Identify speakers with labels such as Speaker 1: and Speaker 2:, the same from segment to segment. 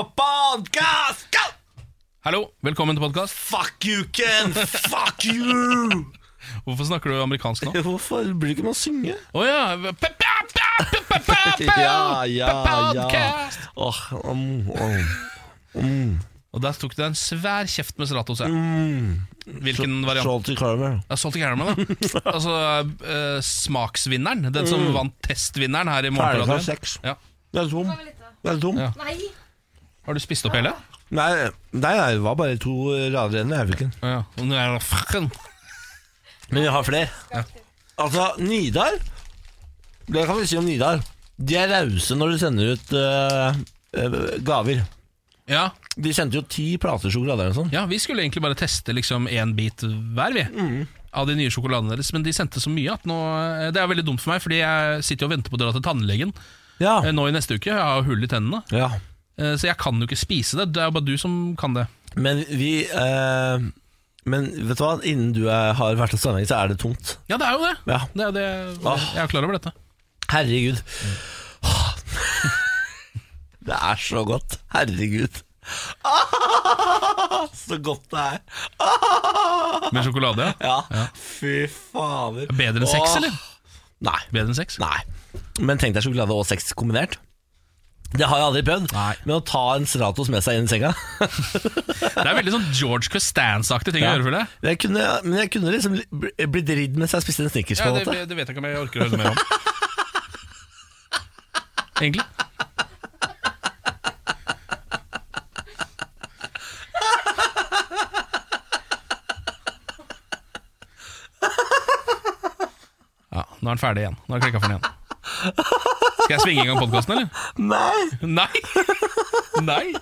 Speaker 1: Podkast!
Speaker 2: Hallo, velkommen til podkast.
Speaker 1: Fuck you, Ken! Fuck you!
Speaker 2: Hvorfor snakker du amerikansk nå?
Speaker 1: Hvorfor blir ikke man synge?
Speaker 2: Å ja. pa- pa- pa- pa- pa- pa-
Speaker 1: Ja, ja,
Speaker 2: pa-
Speaker 1: ja.
Speaker 2: podcast.
Speaker 1: Åh, om, om.
Speaker 2: Og der tok du deg en svær kjeft med Serato seg. Hvilken variant?
Speaker 1: Salty Caramel.
Speaker 2: Ja, Salty Caramel, da. Altså eh, smaksvinneren. Den som vant testvinneren her i
Speaker 1: Terningkast
Speaker 2: morgen.
Speaker 1: seks.
Speaker 2: Ja.
Speaker 1: Den er tom. Den er tom.
Speaker 2: Ja.
Speaker 3: Nei!
Speaker 2: Har du spist opp hele?
Speaker 1: Nei, nei, nei, det var bare to rader igjen i Hauviken.
Speaker 2: Å Ja. Og nå er det fucken.
Speaker 1: Men jeg har flere. Altså, Nidar Det kan vi si om Nidar. De er rause når de sender ut eh, eh, gaver.
Speaker 2: Ja.
Speaker 1: De sendte jo ti plater sjokolade eller noe sånt.
Speaker 2: ja, vi skulle egentlig bare teste liksom én bit hver, vi. Av de nye sjokoladene deres. Men de sendte så mye at nå eh, Det er veldig dumt for meg, fordi jeg sitter jo og venter på å dra til tannlegen
Speaker 1: Ja.
Speaker 2: eh, nå i neste uke. Jeg har jo hull i tennene.
Speaker 1: ja.
Speaker 2: Eh, Så jeg kan jo ikke spise det. Det er jo bare du som kan det.
Speaker 1: Men vi eh, Men vet du hva, innen du er, har vært hos tannlegen, så er det tungt.
Speaker 2: Ja, det er jo det.
Speaker 1: Ja. Ah.
Speaker 2: det, er jo det.
Speaker 1: Åh.
Speaker 2: Jeg er klar over dette.
Speaker 1: Herregud. Åh. Det er så godt. Herregud. Ah, Så godt det er. Ah,
Speaker 2: Med sjokolade? ja.
Speaker 1: Ja, fy fader.
Speaker 2: Bedre enn sex,
Speaker 1: Åh.
Speaker 2: eller?
Speaker 1: Nei.
Speaker 2: Bedre enn sex?
Speaker 1: Nei. Men tenk deg sjokolade og sex kombinert. Det har jeg aldri prøvd,
Speaker 2: Nei.
Speaker 1: men å ta en Stratos med seg inn i senga
Speaker 2: Det er veldig sånn George Costanza-aktig ting
Speaker 1: Ja.
Speaker 2: å gjøre, føler jeg.
Speaker 1: jeg kunne, Men jeg kunne liksom bli- blitt ridd mens jeg spiste en Snickers. på
Speaker 2: Ja,
Speaker 1: en
Speaker 2: det,
Speaker 1: måte.
Speaker 2: det vet jeg ikke om jeg orker å høre mer om. Egentlig. Ja, nå er den ferdig igjen. Nå har jeg klikka for den igjen. Skal jeg svinge i gang podkasten, eller?
Speaker 1: Nei!
Speaker 2: Nei! Nei!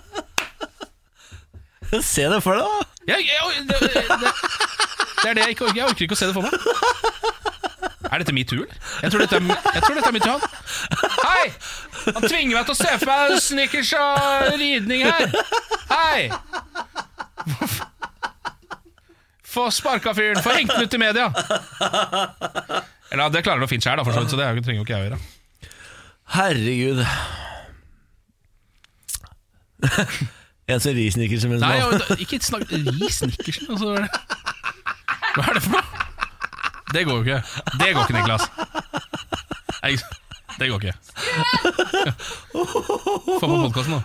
Speaker 1: Se det for deg, da!
Speaker 2: Jeg, jeg, det, det, det er det jeg ikke orker. Jeg orker ikke å se det for meg. Er dette metoo, eller? Jeg tror dette er, jeg tror dette er metoo. han. Hei! Han tvinger meg til å se for meg snickers og ridning her. Hei! Få sparka fyren. Få hengt den ut i media. Eller ja, Det klarer han fint sjøl, for så vidt, så det er jo- trenger jo ikke jeg å gjøre.
Speaker 1: Herregud. en som rir Snickers mens
Speaker 2: Nei,
Speaker 1: man
Speaker 2: og, da- Ikke snakk Ri snickersen, altså. Hva er det- hva er det for noe? Det går jo ikke. Det går ikke, Niklas. Nei, det går ikke. Få på podkasten, da.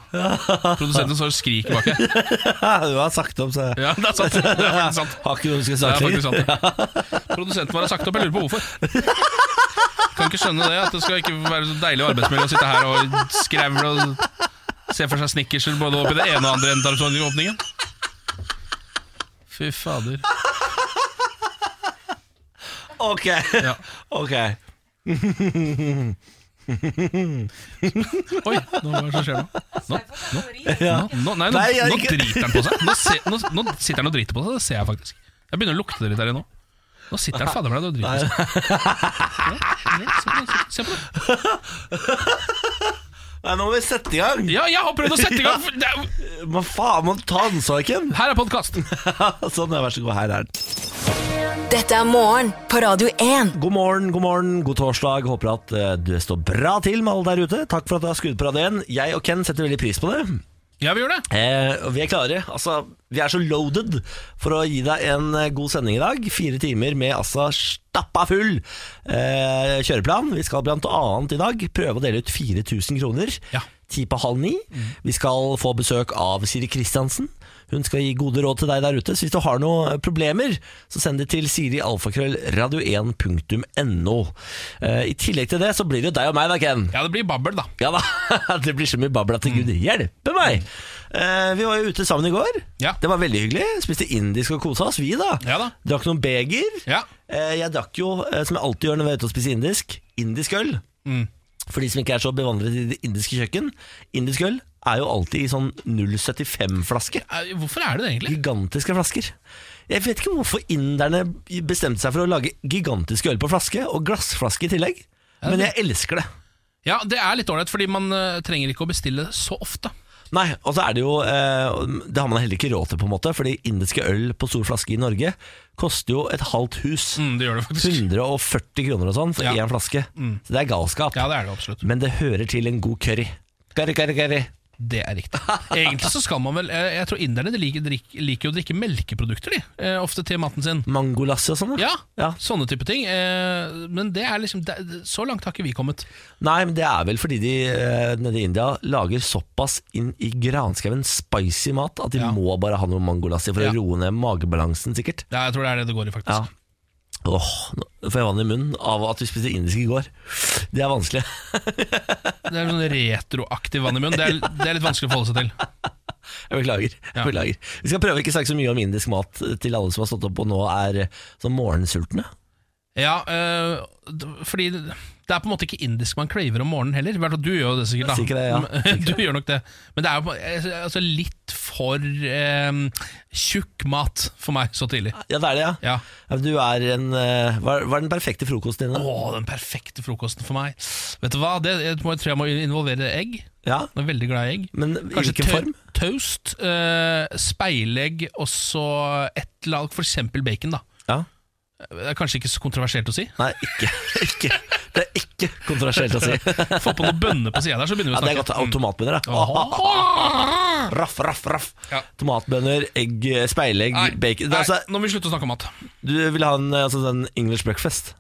Speaker 2: Produsenten står og skriker bak her.
Speaker 1: Du har sagt opp, så jeg
Speaker 2: Ja, det er sant. Det er faktisk sant.
Speaker 1: har ikke noe du skal
Speaker 2: Det er
Speaker 1: snakke
Speaker 2: faktisk sant det. Produsenten vår har sagt opp, jeg lurer på hvorfor. Kan ikke skjønne det, at det skal ikke være så deilig arbeidsmiljø å sitte her og skrevle og se for seg snickerser både opp i det ene og andre enden av åpningen. Fy fader.
Speaker 1: Ok,
Speaker 2: Ja.
Speaker 1: ok.
Speaker 2: Oi, nå, hva er det som skjer nå? Nå, nå,
Speaker 1: Ja.
Speaker 2: nå, nå, nei, nå,
Speaker 1: Nei, jeg
Speaker 2: nå
Speaker 1: ikke-
Speaker 2: driter han på seg. Nå, se, nå, nå sitter han og driter på seg, det ser jeg faktisk. Jeg begynner å lukte det litt her inne nå. Nå sitter han fader meg og driter på seg. Ja, ja, se, på det, se på det.
Speaker 1: Nei, nå må vi sette i gang.
Speaker 2: Ja, jeg har prøvd å sette i gang! for det er jo-
Speaker 1: Men faen, må du ta ansvar, Ken.
Speaker 2: Her er podkast!
Speaker 1: sånn, ja, vær så god. Her er den.
Speaker 4: Dette er morgen på Radio 1.
Speaker 1: God morgen, god morgen, god torsdag. Håper at eh, det står bra til med alle der ute. Takk for at du har skrudd på radioen. Jeg og Ken setter veldig pris på det.
Speaker 2: Ja, vi gjør det.
Speaker 1: Eh, og vi er klare. Altså, vi er så loaded for å gi deg en eh, god sending i dag. Fire timer med altså stappa full eh, kjøreplan. Vi skal blant annet i dag prøve å dele ut 4000 kroner.
Speaker 2: Ja.
Speaker 1: Ti på halv ni. Vi skal få besøk av Siri Kristiansen. Hun skal gi gode råd til deg der ute. Så hvis du har noen problemer, så send det til sirialfakrøllradio1.no. Eh, I tillegg til det så blir det jo deg og meg da, Ken.
Speaker 2: Ja, det blir babbel, da.
Speaker 1: Ja da, det blir så mye babla til Gud
Speaker 2: Mm.
Speaker 1: hjelpe meg! Eh, vi var jo ute sammen i går.
Speaker 2: Ja.
Speaker 1: Det var veldig hyggelig. Spiste indisk og kosa oss, vi da.
Speaker 2: Ja da.
Speaker 1: Drakk noen beger.
Speaker 2: Ja.
Speaker 1: Eh, jeg drakk jo, eh, som jeg alltid gjør når vi er ute og spiser indisk, indisk øl.
Speaker 2: Mm.
Speaker 1: For de som ikke er så bevandret i det indiske kjøkken, indisk øl er jo alltid i sånn 0,75-flaske.
Speaker 2: Eh, Hvorfor er det det, egentlig?
Speaker 1: Gigantiske flasker. Jeg vet ikke hvorfor inderne bestemte seg for å lage gigantiske øl på flaske, og glassflaske i tillegg. Men jeg elsker det.
Speaker 2: Ja, Det er litt ålreit, fordi man eh, trenger ikke å bestille så ofte.
Speaker 1: Nei, og så er det jo eh, Det har man heller ikke råd til, på en måte. Fordi indiske øl på stor flaske i Norge koster jo et halvt hus.
Speaker 2: Mm, det gjør det faktisk.
Speaker 1: 140 kroner og sånn for
Speaker 2: Ja. Mm.
Speaker 1: én flaske. Så det er galskap.
Speaker 2: Ja, det er det absolutt.
Speaker 1: Men det hører til en god curry. Gari, gari, gari.
Speaker 2: Det er riktig. Egentlig så skal man vel eh, Jeg tror inderne de liker, drikk- liker jo å drikke melkeprodukter, de. eh, Ofte til maten sin.
Speaker 1: Mangolassi og sånn,
Speaker 2: Ja,
Speaker 1: Ja.
Speaker 2: sånne type ting. Eh, Men det er liksom det, det- Så langt har ikke vi kommet.
Speaker 1: Nei, men det er vel fordi de eh, nede i India lager såpass inn i granskauen spicy mat at de
Speaker 2: Ja.
Speaker 1: må bare ha noe mangolassi for
Speaker 2: Ja.
Speaker 1: å roe ned magebalansen, sikkert.
Speaker 2: Ja, jeg tror det er det det går i, faktisk.
Speaker 1: Ja. Åh, nå får jeg vann i munnen av at vi spiste indisk i går. Det er vanskelig.
Speaker 2: Det er sånn retroaktiv vann i munnen. Det er, det er litt vanskelig å forholde seg til.
Speaker 1: Jeg beklager. jeg
Speaker 2: Ja.
Speaker 1: beklager Vi skal prøve å ikke snakke så mye om indisk mat til alle som har stått opp og nå er sånn morgensultne.
Speaker 2: Ja, eh, d- fordi det er på en måte ikke indisk man craver om morgenen heller. I hvert fall Du gjør jo det sikkert, da.
Speaker 1: Sikkert det, ja.
Speaker 2: Du gjør nok det. Men det er jo på- eh, altså litt for eh, tjukk mat for meg så tidlig.
Speaker 1: Ja, det er det, ja.
Speaker 2: Ja.
Speaker 1: Ja, men Du er en eh, Hva er hva er den perfekte frokosten din? da?
Speaker 2: Å, den perfekte frokosten for meg. Vet du hva, det, jeg tror jeg må involvere egg.
Speaker 1: Ja,
Speaker 2: Jeg er veldig glad i egg.
Speaker 1: men i
Speaker 2: Kanskje
Speaker 1: hvilken
Speaker 2: tau-
Speaker 1: form?
Speaker 2: toast, eh, speilegg og så et lag, for eksempel bacon. da
Speaker 1: Ja.
Speaker 2: Det er kanskje ikke så kontroversielt å si.
Speaker 1: Nei, ikke. ikke. Det er ikke kontroversielt å si. Ja,
Speaker 2: Få på noen bønner på sida der, så begynner
Speaker 1: det
Speaker 2: vi å snakke. Mm.
Speaker 1: er godt. Automatbønner, da.
Speaker 2: Åh.
Speaker 1: Raff, raff, raff.
Speaker 2: Ja.
Speaker 1: Tomatbønner, egg, eh, speilegg,
Speaker 2: Nei,
Speaker 1: bacon Det
Speaker 2: nei,
Speaker 1: er altså,
Speaker 2: nå må vi slutte å snakke om mat.
Speaker 1: Du vil ha en eh, altså, sånn English breakfast?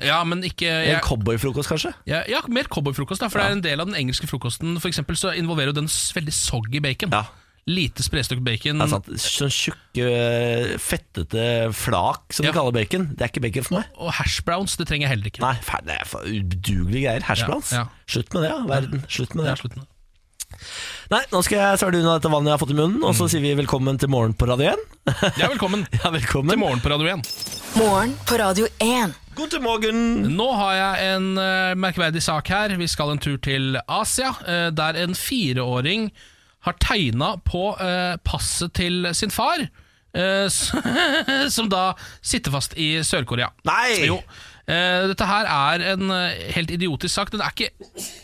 Speaker 2: Ja, men ikke
Speaker 1: En
Speaker 2: jeg,
Speaker 1: cowboyfrokost, kanskje?
Speaker 2: jeg, Ja, mer cowboyfrokost, da, for det er en del av den engelske frokosten. For eksempel så involverer jo den s- veldig soggy bacon.
Speaker 1: Ja.
Speaker 2: Lite sprestøkt bacon.
Speaker 1: Det er sant. Sånn tjukke, fettete flak som
Speaker 2: Ja.
Speaker 1: de kaller bacon. Det er ikke bacon for meg.
Speaker 2: Og hash browns, det trenger jeg heller ikke.
Speaker 1: Nei, faen, det er for udugelige greier. Hash
Speaker 2: Ja,
Speaker 1: browns.
Speaker 2: ja.
Speaker 1: Slutt med det, ja, verden. Slutt med
Speaker 2: Det
Speaker 1: det.
Speaker 2: er slutten.
Speaker 1: Nei, nå skal jeg svelge unna dette vannet jeg har fått i munnen, og så
Speaker 2: Mm.
Speaker 1: sier vi velkommen til morgen på Radio 1.
Speaker 2: Ja, velkommen
Speaker 1: Ja,
Speaker 2: til
Speaker 1: velkommen.
Speaker 2: morgen på Radio 1.
Speaker 4: Morgen på Radio 1.
Speaker 1: God til morgen.
Speaker 2: Nå har jeg en eh, merkverdig sak her. Vi skal en tur til Asia, eh, der en fireåring har tegna på eh, passet til sin far, eh, s- som da sitter fast i Sør-Korea.
Speaker 1: Nei!
Speaker 2: Jo. Eh, dette her er en eh, helt idiotisk sak. Den er ikke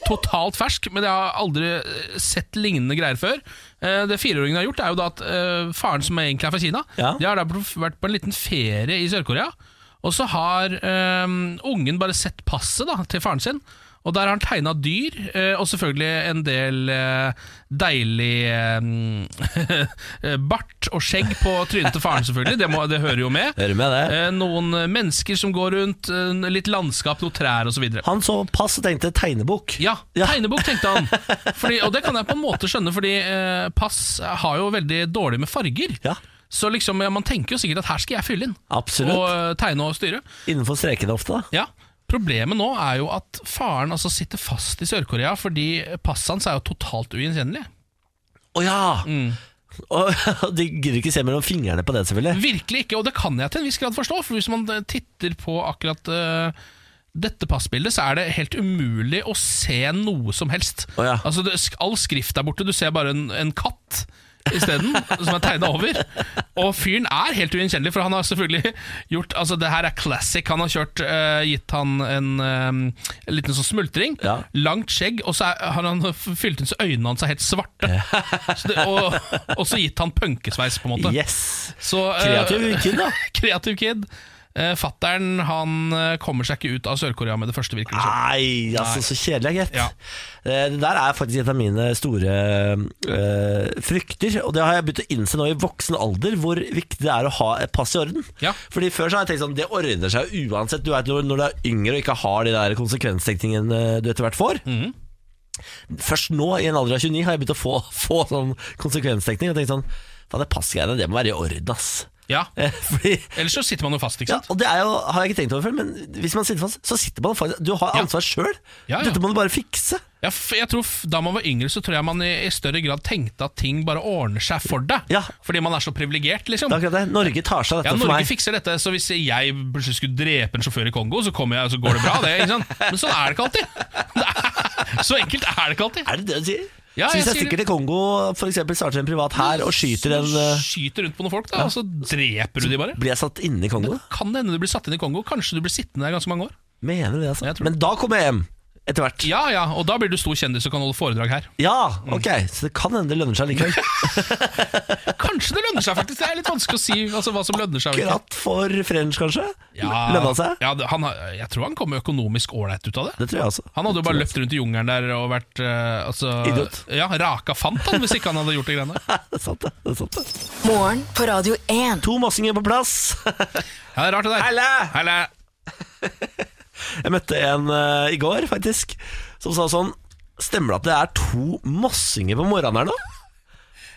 Speaker 2: totalt fersk, men jeg har aldri eh, sett lignende greier før. Eh, det fireåringen har gjort, er jo da at eh, faren, som egentlig er fra Kina,
Speaker 1: Ja.
Speaker 2: de har da vært på en liten ferie i Sør-Korea. Og så har eh, ungen bare sett passet da, til faren sin. Og der har han tegna dyr, eh, og selvfølgelig en del eh, deilig eh, bart og skjegg på trynet til faren, selvfølgelig. Det, må, det hører jo med.
Speaker 1: Hører med det.
Speaker 2: Eh, Noen eh, mennesker som går rundt, eh, litt landskap, noen trær osv.
Speaker 1: Han så pass og tenkte tegnebok.
Speaker 2: Ja, tegnebok, tenkte han. Fordi, og det kan jeg på en måte skjønne, fordi eh, pass har jo veldig dårlig med farger.
Speaker 1: Ja.
Speaker 2: Så liksom, ja, man tenker jo sikkert at her skal jeg fylle inn.
Speaker 1: Absolutt.
Speaker 2: Og eh, tegne og styre.
Speaker 1: Innenfor strekene ofte, da.
Speaker 2: Ja, Problemet nå er jo at faren altså, sitter fast i Sør-Korea fordi passet hans er jo totalt ugjenkjennelig.
Speaker 1: Å ja! Mm. Og de gidder ikke se mellom fingrene på det, selvfølgelig.
Speaker 2: Virkelig ikke, og det kan jeg til en viss grad forstå, for hvis man eh, titter på akkurat eh, dette passbildet, så er det helt umulig å se noe som helst.
Speaker 1: Å ja.
Speaker 2: Altså, det, sk- All skrift der borte, du ser bare en, en katt isteden, som er tegna over. Og fyren er helt ugjenkjennelig, for han har selvfølgelig gjort Altså, det her er classic. Han har kjørt eh, gitt han en eh, liten sånn smultring,
Speaker 1: Ja.
Speaker 2: langt skjegg, og så er, har han fylt inn så øynene hans er helt svarte. Så det, og, og så gitt han punkesveis, på en måte.
Speaker 1: Yes!
Speaker 2: Så, Mm. eh,
Speaker 1: Kreativ kid, da.
Speaker 2: kreativ kid. Eh, Fattern han eh, kommer seg ikke ut av Sør-Korea med det første, virker det som.
Speaker 1: Nei, altså så kjedelig, gitt.
Speaker 2: Ja.
Speaker 1: Eh, Det der er faktisk et av mine store eh, frykter. Og det har jeg begynt å innse nå i voksen alder, hvor viktig det er å ha et pass i orden.
Speaker 2: Ja.
Speaker 1: Fordi Før så har jeg tenkt sånn, det ordner seg jo uansett. Du vet, når- Når du er yngre og ikke har de der konsekvenstenkningene du etter hvert får.
Speaker 2: Mhm.
Speaker 1: Først nå, i en alder av 29, har jeg begynt å få, få sånn konsekvenstenkning. Og tenkt sånn, faen, det passgreiene, det må være i orden, ass.
Speaker 2: Ja,
Speaker 1: Eh, Fordi
Speaker 2: Ellers så sitter man jo fast, ikke
Speaker 1: ja,
Speaker 2: sant?
Speaker 1: og det er jo, har jeg ikke tenkt over før, men hvis man sitter fast, så sitter man fast. Du har
Speaker 2: Ja.
Speaker 1: ansvar sjøl.
Speaker 2: Ja, ja.
Speaker 1: Dette må du bare fikse.
Speaker 2: Ja, f- jeg tror f- Da man var yngre, så tror jeg man i, i større grad tenkte at ting bare ordner seg for deg.
Speaker 1: Ja.
Speaker 2: Fordi man er så privilegert, liksom.
Speaker 1: Det er akkurat det. Norge tar seg av
Speaker 2: Ja,
Speaker 1: dette for
Speaker 2: Norge
Speaker 1: meg.
Speaker 2: fikser dette, så hvis jeg plutselig skulle drepe en sjåfør i Kongo, så kommer jeg, og så går det bra, det. ikke sant? Men sånn er det ikke alltid. Det er- Så enkelt er det ikke alltid.
Speaker 1: Er det det du sier?
Speaker 2: Ja,
Speaker 1: så
Speaker 2: jeg
Speaker 1: hvis jeg
Speaker 2: sier
Speaker 1: stikker til Kongo for eksempel starter en privat her og skyter en
Speaker 2: Så
Speaker 1: eh,
Speaker 2: Skyter rundt på noen folk, da, og så dreper du de bare.
Speaker 1: Blir jeg satt inne i Kongo?
Speaker 2: Kan det hende du blir satt inn i Kongo? Kanskje du blir sittende der ganske mange år?
Speaker 1: Mener du det, altså?
Speaker 2: Jeg tror det.
Speaker 1: Men da kommer jeg hjem! etter hvert.
Speaker 2: Ja, ja, og da blir du stor kjendis og kan holde foredrag her.
Speaker 1: Ja, ok, så det kan hende det lønner seg likevel.
Speaker 2: Kanskje det lønner seg, faktisk. Det er litt vanskelig å si altså, hva som lønner seg. og ikke.
Speaker 1: Akkurat for French, kanskje. Lønna seg.
Speaker 2: Ja, det- han, har- jeg tror han kom økonomisk ålreit ut av det.
Speaker 1: Det tror jeg også.
Speaker 2: Han hadde jo bare løpt rundt i jungelen der og vært eh, altså,
Speaker 1: Idiot.
Speaker 2: Ja, Raka fant han hvis ikke han hadde gjort de greiene. der.
Speaker 1: Det er sant, det. det, er sant, det.
Speaker 4: Morgen på Radio 1.
Speaker 1: To mossinger på plass.
Speaker 2: Ja, det er rart det der.
Speaker 1: Helle!
Speaker 2: Helle!
Speaker 1: Jeg møtte en eh, i går, faktisk, som sa sånn Stemmer det at det er to mossinger på morgenen her nå?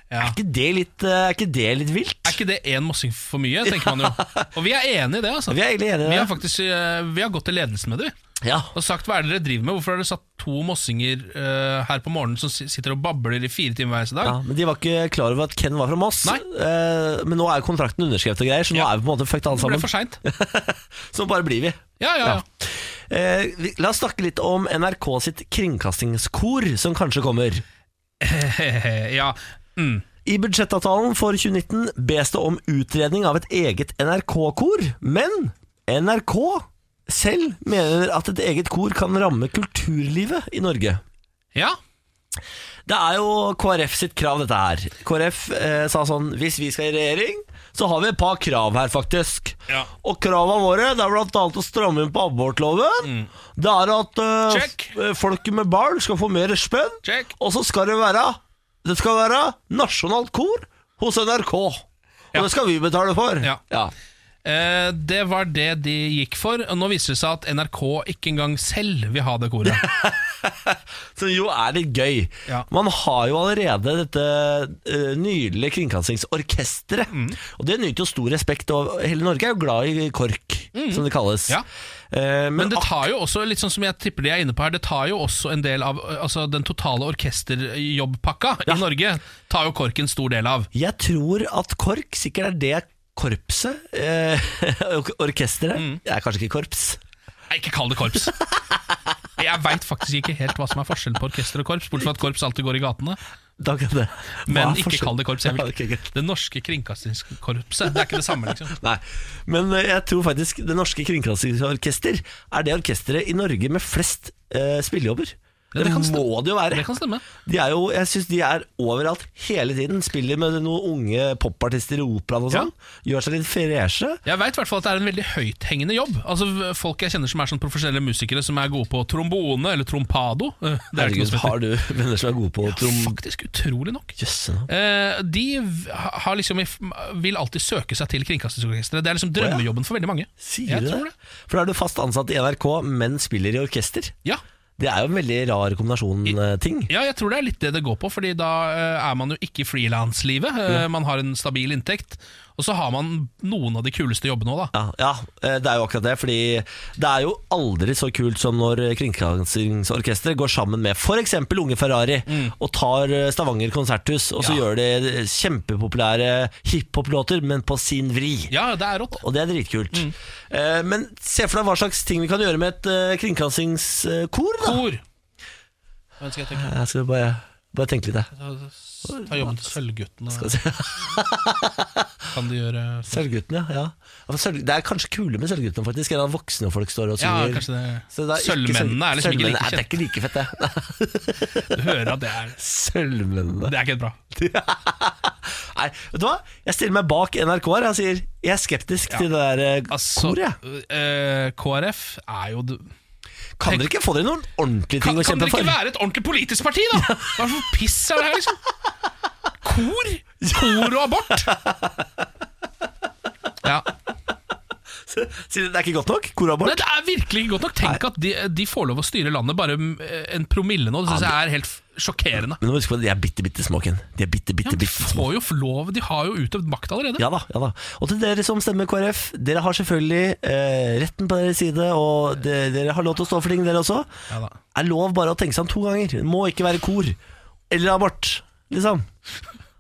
Speaker 2: Ja.
Speaker 1: Er ikke det litt, eh, er ikke det litt vilt?
Speaker 2: Er ikke det én mossing for mye, tenker man jo. Og vi er enig i det, altså.
Speaker 1: Vi er egentlig enige
Speaker 2: Vi
Speaker 1: i
Speaker 2: har
Speaker 1: det.
Speaker 2: faktisk eh, Vi har gått til ledelsen med det, vi.
Speaker 1: Ja.
Speaker 2: Og sagt hva er det dere driver med? Hvorfor har dere satt to mossinger eh, her på morgenen som si- sitter og babler i fire timer hver eneste dag?
Speaker 1: Ja, men De var ikke klar over at Ken var fra Moss.
Speaker 2: Nei.
Speaker 1: Eh, men nå er jo kontrakten underskrevet og greier, så nå
Speaker 2: Ja.
Speaker 1: er vi på en måte fucked alle
Speaker 2: det
Speaker 1: sammen.
Speaker 2: ble for seint.
Speaker 1: Så nå bare blir vi.
Speaker 2: Ja, ja, ja.
Speaker 1: Eh, vi- la oss snakke litt om NRK sitt kringkastingskor som kanskje kommer.
Speaker 2: ja. Mm.
Speaker 1: I budsjettavtalen for 2019 bes det om utredning av et eget NRK-kor, men NRK selv mener at et eget kor kan ramme kulturlivet i Norge.
Speaker 2: ja.
Speaker 1: Det er jo KrF sitt krav dette her. KrF eh, sa sånn Hvis vi skal i regjering, så har vi et par krav her, faktisk.
Speaker 2: Ja.
Speaker 1: Og kravene våre det er bl.a. å stramme inn på abortloven. Det er at eh,
Speaker 2: Mm. Check.
Speaker 1: f- eh, folk med barn skal få mer spenn.
Speaker 2: Check.
Speaker 1: Og så skal det være Det skal være nasjonalt kor hos NRK. Og
Speaker 2: Ja.
Speaker 1: det skal vi betale for.
Speaker 2: Ja. Eh, det var det de gikk for. Og nå viser det seg at NRK ikke engang selv vil ha det koret.
Speaker 1: Som jo er litt gøy.
Speaker 2: Ja.
Speaker 1: Man har jo allerede dette eh, nydelige kringkastingsorkesteret.
Speaker 2: Mm.
Speaker 1: Og det nyter jo stor respekt, og hele Norge er jo glad i KORK, som det kalles.
Speaker 2: Mm. Ja.
Speaker 1: Eh, men
Speaker 2: Men det tar jo også, litt sånn som jeg tipper de er inne på her, det tar jo også en del av eh, altså, den totale orkesterjobbpakka i Norge. Tar jo KORK en stor del av.
Speaker 1: Jeg tror at KORK sikkert er det korpset eh, ork- Orkesteret.
Speaker 2: Mm.
Speaker 1: Det er kanskje ikke korps.
Speaker 2: Nei, ikke kall det korps. Jeg veit faktisk ikke helt hva som er forskjellen på orkester og korps, bortsett fra at korps alltid går i gatene.
Speaker 1: Da kan det.
Speaker 2: Men
Speaker 1: Hva er
Speaker 2: ikke
Speaker 1: forskjell-
Speaker 2: kall det korps. Jeg
Speaker 1: Ja,
Speaker 2: vil.
Speaker 1: ok, greit.
Speaker 2: det norske kringkastingskorpset. Det er ikke det samme, liksom.
Speaker 1: Nei, men eh, jeg tror faktisk Det Norske Kringkastingsorkester er det orkesteret i Norge med flest eh, spillejobber. Det,
Speaker 2: Ja, det kan stemme.
Speaker 1: må det jo være.
Speaker 2: Det kan stemme.
Speaker 1: De er jo, jeg syns de er overalt hele tiden. Spiller med noen unge popartister i operaen og sånn. Gjør seg litt freshe.
Speaker 2: Jeg veit at det er en veldig høythengende jobb. Altså v- Folk jeg kjenner som er sånn profesjonelle musikere, som er gode på trombone eller trompado eh, Det er det ikke noe
Speaker 1: Herregud,
Speaker 2: som heter.
Speaker 1: har du venner som er gode på trom...
Speaker 2: Faktisk utrolig nok.
Speaker 1: Jøsse navn.
Speaker 2: Eh, De v- har liksom, vil alltid søke seg til Kringkastingsorkesteret. Det er liksom drømmejobben for veldig mange.
Speaker 1: Sier
Speaker 2: Jeg
Speaker 1: du
Speaker 2: tror
Speaker 1: det? For da er du fast ansatt i NRK, men spiller i orkester.
Speaker 2: Ja
Speaker 1: Det er jo en veldig rar eh, kombinasjon-ting.
Speaker 2: Ja, jeg tror det er litt det det går på, Fordi da eh, er man jo ikke i frilanslivet. eh, Man har en stabil inntekt, og så har man noen av de kuleste jobbene òg, da.
Speaker 1: Ja, ja, eh, det er jo akkurat det. Fordi det er jo aldri så kult som når eh, Kringkastingsorkesteret går sammen med f.eks. Unge Ferrari og tar eh, Stavanger konserthus, og så
Speaker 2: Mm. Ja.
Speaker 1: gjør de eh, kjempepopulære hiphop-låter, men på sin vri.
Speaker 2: Ja, Mm. det er rått.
Speaker 1: Og det er dritkult. Eh, Men se for deg hva slags ting vi kan gjøre med et eh, kringkastingskor, da.
Speaker 2: Kor. Men skal jeg tenke
Speaker 1: Jeg skal bare, bare tenke litt, jeg.
Speaker 2: Ta ta jobben til Sølvguttene.
Speaker 1: Skal vi se.
Speaker 2: Kan de gjøre
Speaker 1: Sølvguttene, ja. ja. for Sølv, det er kanskje kulere med Sølvguttene, faktisk, enn at voksne folk står og
Speaker 2: Ja,
Speaker 1: synger.
Speaker 2: kanskje
Speaker 1: Så
Speaker 2: det
Speaker 1: det ikke
Speaker 2: Sølvmennene
Speaker 1: Sølv-
Speaker 2: er liksom ikke
Speaker 1: Sølvmennene-
Speaker 2: like
Speaker 1: Nei, Det er ikke
Speaker 2: kjent.
Speaker 1: like fett, det.
Speaker 2: Du hører at det er
Speaker 1: Sølvmennene.
Speaker 2: Det er ikke helt bra.
Speaker 1: Nei, vet du hva? Jeg stiller meg bak NRK her. Jeg sier jeg er skeptisk til det der eh,
Speaker 2: Altså,
Speaker 1: koret.
Speaker 2: eh, KrF er jo det-
Speaker 1: Kan dere ikke få dere noen ordentlige ting
Speaker 2: Kan,
Speaker 1: å
Speaker 2: kan
Speaker 1: kjempe
Speaker 2: dere ikke
Speaker 1: for?
Speaker 2: være et ordentlig politisk parti, da? Hva slags piss er det her, liksom? Kor? Kor og abort? Ja.
Speaker 1: Sier dere det er ikke godt nok? Korabort?
Speaker 2: Nei, det er virkelig ikke godt nok. Tenk at de, de får lov å styre landet bare mm, en promille nå. Det syns jeg er helt f- sjokkerende.
Speaker 1: Men nå må du huske på at de er bitte, bitte små, Ken. De er bitte,
Speaker 2: Ja,
Speaker 1: bitte,
Speaker 2: men de
Speaker 1: bitte små.
Speaker 2: får jo lov, de har jo utøvd makt allerede.
Speaker 1: Ja da, ja da. Og til dere som stemmer KrF, dere har selvfølgelig eh, retten på deres side, og de, dere har lov til å stå for ting, dere også.
Speaker 2: Ja da.
Speaker 1: er lov bare å tenke seg om to ganger. Det må ikke være kor eller abort, liksom.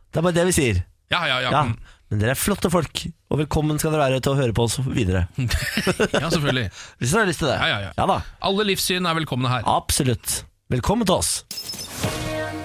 Speaker 1: Det er bare det vi sier.
Speaker 2: Ja, ja, ja.
Speaker 1: Ja.
Speaker 2: mm.
Speaker 1: Men dere er flotte folk, og velkommen skal dere være til å høre på oss videre.
Speaker 2: ja selvfølgelig.
Speaker 1: Hvis dere har lyst til det.
Speaker 2: Ja, ja, ja.
Speaker 1: ja da,
Speaker 2: Alle livssyn er velkomne her.
Speaker 1: absolutt. Velkommen til oss.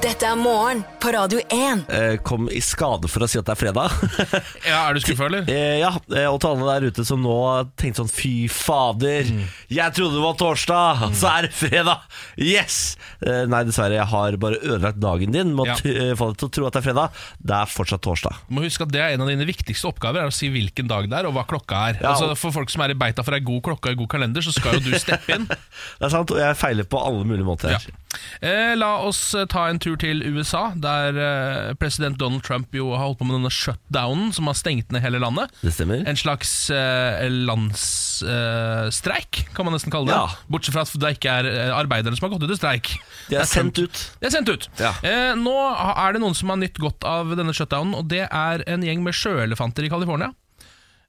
Speaker 4: Dette er morgen på Radio 1.
Speaker 1: Eh, Kom i skade for å si at det er fredag.
Speaker 2: Ja, Er du skuffa, eller?
Speaker 1: Eh, ja, eh, og til alle der ute som nå tenkte sånn Fy fader,
Speaker 2: Mm.
Speaker 1: jeg trodde det var torsdag, så er det fredag! Yes! Eh, nei, dessverre, jeg har bare ødelagt dagen din med å
Speaker 2: Ja.
Speaker 1: t- eh, få deg til å tro at det er fredag. Det er fortsatt torsdag.
Speaker 2: Du må huske at det er En av dine viktigste oppgaver er å si hvilken dag det er, og hva klokka er.
Speaker 1: Ja,
Speaker 2: altså
Speaker 1: og-
Speaker 2: For folk som er i beita for ei god klokke og en god kalender, så skal jo du steppe inn.
Speaker 1: Det er sant, og jeg feiler på alle mulige måter.
Speaker 2: Ja. Eh, la oss eh, ta en tur til USA, der eh, president Donald Trump jo har holdt på med denne shutdownen som har stengt ned hele landet.
Speaker 1: Det stemmer.
Speaker 2: En slags eh, landsstreik, eh, streik, kan man nesten kalle det.
Speaker 1: Ja.
Speaker 2: Bortsett fra at det ikke er eh, arbeidere som har gått ut i streik.
Speaker 1: De er sendt ut.
Speaker 2: Det er sendt ut.
Speaker 1: Ja.
Speaker 2: Eh, nå ha- er det noen som har nytt godt av denne shutdownen, og det er en gjeng med sjøelefanter i California.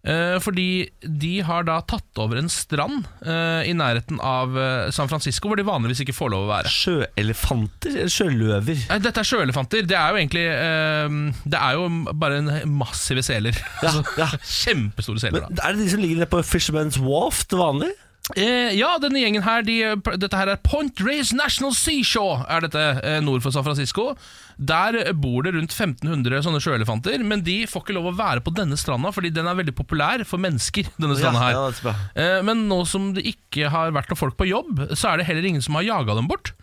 Speaker 2: Eh, fordi de har da tatt over en strand eh, i nærheten av eh, San Francisco, hvor de vanligvis ikke får lov å være.
Speaker 1: Sjøelefanter? eller Sjøløver?
Speaker 2: Nei, Dette er sjøelefanter. Det er jo egentlig eh, Det er jo bare en massive seler.
Speaker 1: Ja,
Speaker 2: Altså,
Speaker 1: ja.
Speaker 2: Kjempestore seler.
Speaker 1: Men
Speaker 2: da
Speaker 1: er det de som ligger nede på Fisherman's Wharf til vanlig?
Speaker 2: eh, Ja, denne gjengen her de, Dette her er Point Reyes National Seashore, er dette eh, nord for San Francisco. Der bor det rundt 1500 sånne sjøelefanter, men de får ikke lov å være på denne stranda, fordi den er veldig populær for mennesker. Denne stranda her
Speaker 1: ja, det er bra.
Speaker 2: Eh, Men nå som det ikke har vært noen folk på jobb, så er det heller ingen som har jaga dem bort.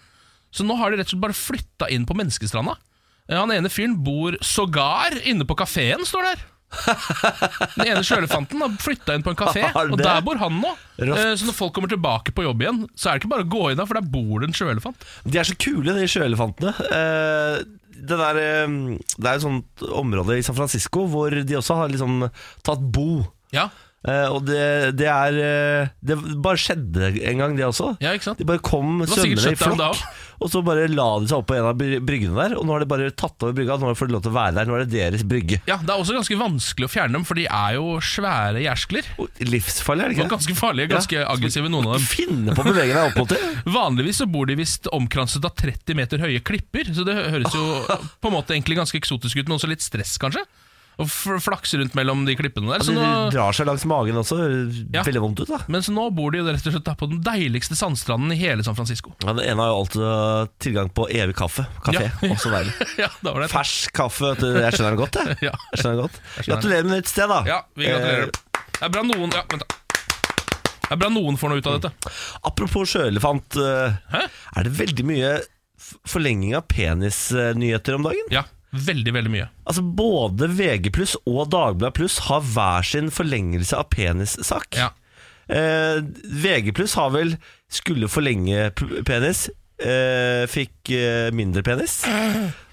Speaker 2: Så nå har de rett og slett bare flytta inn på menneskestranda. Eh, Han ene fyren bor sågar inne på kafeen, står det her. Den ene sjøelefanten har flytta inn på en kafé,
Speaker 1: Har
Speaker 2: og
Speaker 1: det?
Speaker 2: der bor han nå.
Speaker 1: Rått.
Speaker 2: Eh, Så når folk kommer tilbake på jobb igjen, så er det ikke bare å gå inn der, for der bor det en sjøelefant.
Speaker 1: De er så kule, de sjøelefantene. Eh, det, der, eh, det er et sånt område i San Francisco hvor de også har liksom tatt bo.
Speaker 2: Ja,
Speaker 1: Eh, og det, det er eh, Det bare skjedde en gang, det også.
Speaker 2: ja ikke sant?
Speaker 1: De bare kom
Speaker 2: var sikkert
Speaker 1: svømmende i
Speaker 2: shutdown da
Speaker 1: flokk,
Speaker 2: også.
Speaker 1: og så bare la de seg opp på en av bry- bryggene der. Og nå har de bare tatt over brygga, nå får de lov til å være der. Nå er det deres brygge.
Speaker 2: Ja, Det er også ganske vanskelig å fjerne dem, for de er jo svære gjerskler.
Speaker 1: Og Livsfarlig, er det
Speaker 2: Og
Speaker 1: ikke det?
Speaker 2: ganske farlige, ganske aggressive, noen av dem.
Speaker 1: Finne på å bevege deg opp mot dem!
Speaker 2: Vanligvis så bor de visst omkranset av 30 meter høye klipper, så det hø- høres jo på en måte egentlig ganske eksotisk ut, men også litt stress, kanskje? Og f- flakse rundt mellom de klippene der.
Speaker 1: Altså,
Speaker 2: Så
Speaker 1: De
Speaker 2: nå,
Speaker 1: drar seg langs magen også.
Speaker 2: Ja.
Speaker 1: Veldig vondt ut, da.
Speaker 2: men så nå bor de jo rett og slett da på den deiligste sandstranden i hele San Francisco.
Speaker 1: Ja, Den ene har jo alltid uh, tilgang på evig kaffe. Kafé,
Speaker 2: Ja.
Speaker 1: også deilig.
Speaker 2: ja, da var det
Speaker 1: Fersk kaffe, vet du. Jeg skjønner det godt, jeg.
Speaker 2: Ja.
Speaker 1: jeg skjønner det godt.
Speaker 2: skjønner det.
Speaker 1: Gratulerer med nytt sted, da.
Speaker 2: ja, vi
Speaker 1: Eh.
Speaker 2: gratulerer. Det er bra noen Ja, vent, da. Det er bra noen får noe ut av dette.
Speaker 1: Eh, apropos sjøelefant. eh,
Speaker 2: Hæ?
Speaker 1: er det veldig mye f- forlenging av penisnyheter om dagen?
Speaker 2: Ja, veldig, veldig mye.
Speaker 1: Altså Både VG pluss og Dagbladet pluss har hver sin forlengelse av penissak.
Speaker 2: Ja.
Speaker 1: Eh, VG pluss har vel skulle forlenge p- penis, eh, fikk eh, mindre penis.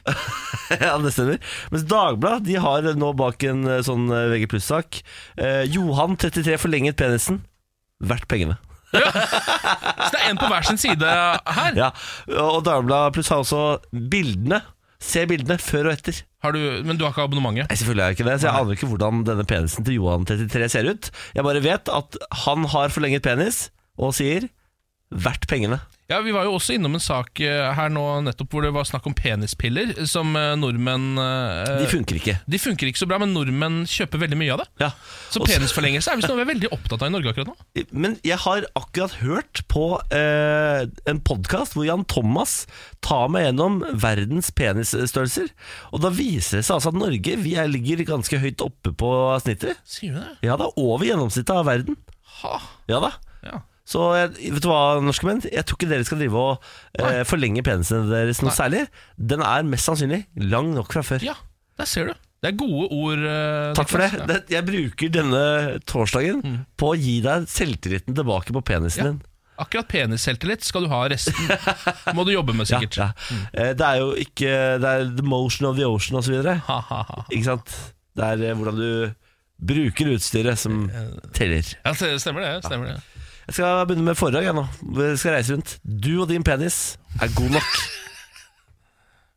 Speaker 1: ja, det stemmer. Mens Dagbladet de har nå bak en eh, sånn eh, VG pluss-sak eh, Johan 33 forlenget penisen. Verdt pengene.
Speaker 2: Så det er en på hver sin side her.
Speaker 1: Ja, Og Dagbladet pluss har også bildene. Se bildene før og etter.
Speaker 2: Har du, men du har ikke abonnementet?
Speaker 1: Nei, selvfølgelig er jeg ikke det, så jeg aner ikke hvordan denne penisen til Johan 33 ser ut. Jeg bare vet at han har forlenget penis, og sier verdt pengene.
Speaker 2: Ja, Vi var jo også innom en sak eh, her nå nettopp hvor det var snakk om penispiller, som eh, nordmenn eh,
Speaker 1: De funker ikke.
Speaker 2: De funker ikke så bra, men nordmenn kjøper veldig mye av det.
Speaker 1: Ja.
Speaker 2: Så
Speaker 1: Og så-
Speaker 2: penisforlengelse er visst noe vi er veldig opptatt av i Norge akkurat nå.
Speaker 1: Men jeg har akkurat hørt på eh, en podkast hvor Jan Thomas tar meg gjennom verdens penisstørrelser. Og da viser det seg altså at Norge vi er, ligger ganske høyt oppe på snittet.
Speaker 2: Sier du det?
Speaker 1: Ja da, over gjennomsnittet av verden.
Speaker 2: Ha.
Speaker 1: Ja da.
Speaker 2: Ja.
Speaker 1: Så jeg, vet du hva, norske menn? Jeg tror ikke dere skal drive og eh, forlenge penisene deres noe særlig. Den er mest sannsynlig lang nok fra før.
Speaker 2: ja, der ser du. Det er gode ord. eh,
Speaker 1: Takk for det.
Speaker 2: Niklas. Ja.
Speaker 1: det. Jeg bruker denne torsdagen på å gi deg selvtilliten tilbake på penisen
Speaker 2: Ja.
Speaker 1: din.
Speaker 2: Akkurat penisselvtillit skal du ha, resten må du jobbe med,
Speaker 1: Ja,
Speaker 2: sikkert. Mm.
Speaker 1: ja. Eh, Det er jo ikke Det er the motion of the ocean osv.
Speaker 2: Ha, ha, ha.
Speaker 1: Ikke sant? Det er eh, hvordan du bruker utstyret som teller.
Speaker 2: Ja, det stemmer det. stemmer det
Speaker 1: Jeg skal begynne med foredrag jeg nå. Vi skal reise rundt. Du og din penis er god nok.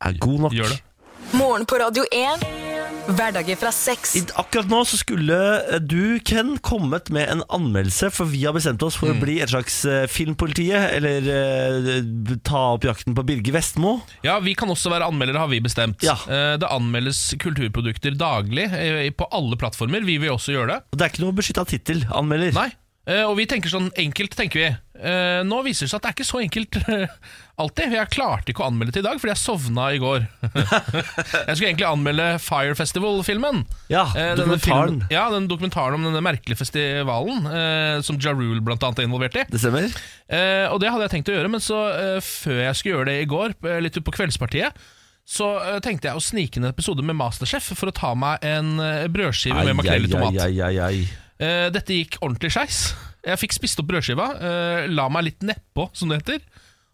Speaker 1: Er god nok.
Speaker 2: Gjør det.
Speaker 4: Morgen på Radio 1. Hverdager fra seks.
Speaker 1: I, akkurat nå så skulle eh, du, Ken, kommet med en anmeldelse, for vi har bestemt oss for
Speaker 2: Mm.
Speaker 1: å bli et slags eh, filmpolitiet, eller eh, ta opp jakten på Birger Vestmo.
Speaker 2: Ja, Vi kan også være anmeldere, har vi bestemt.
Speaker 1: Ja.
Speaker 2: Eh, Det anmeldes kulturprodukter daglig eh, på alle plattformer. Vi vil også gjøre det.
Speaker 1: Og det er ikke noe beskytta tittel, anmelder.
Speaker 2: Nei, Eh, og vi tenker sånn enkelt, tenker vi. Eh, nå viser det seg at det er ikke så enkelt eh, alltid. Jeg klarte ikke å anmelde til i dag, fordi jeg sovna i går. jeg skulle egentlig anmelde Fire Festival-filmen.
Speaker 1: Ja,
Speaker 2: Eh, denne
Speaker 1: dokumentaren.
Speaker 2: filmen- ja, den dokumentaren om denne merkelige festivalen, eh, som Ja Rule blant annet er involvert i.
Speaker 1: Det stemmer?
Speaker 2: Eh, og det hadde jeg tenkt å gjøre, men så eh, før jeg skulle gjøre det i går, eh, litt utpå kveldspartiet, så eh, tenkte jeg å snike inn en episode med Masterchef for å ta meg en eh, brødskive med makrell i tomat.
Speaker 1: Ai, ai, ai, ai.
Speaker 2: Eh, dette gikk ordentlig skeis. Jeg fikk spist opp brødskiva, eh, la meg litt nedpå, som det heter.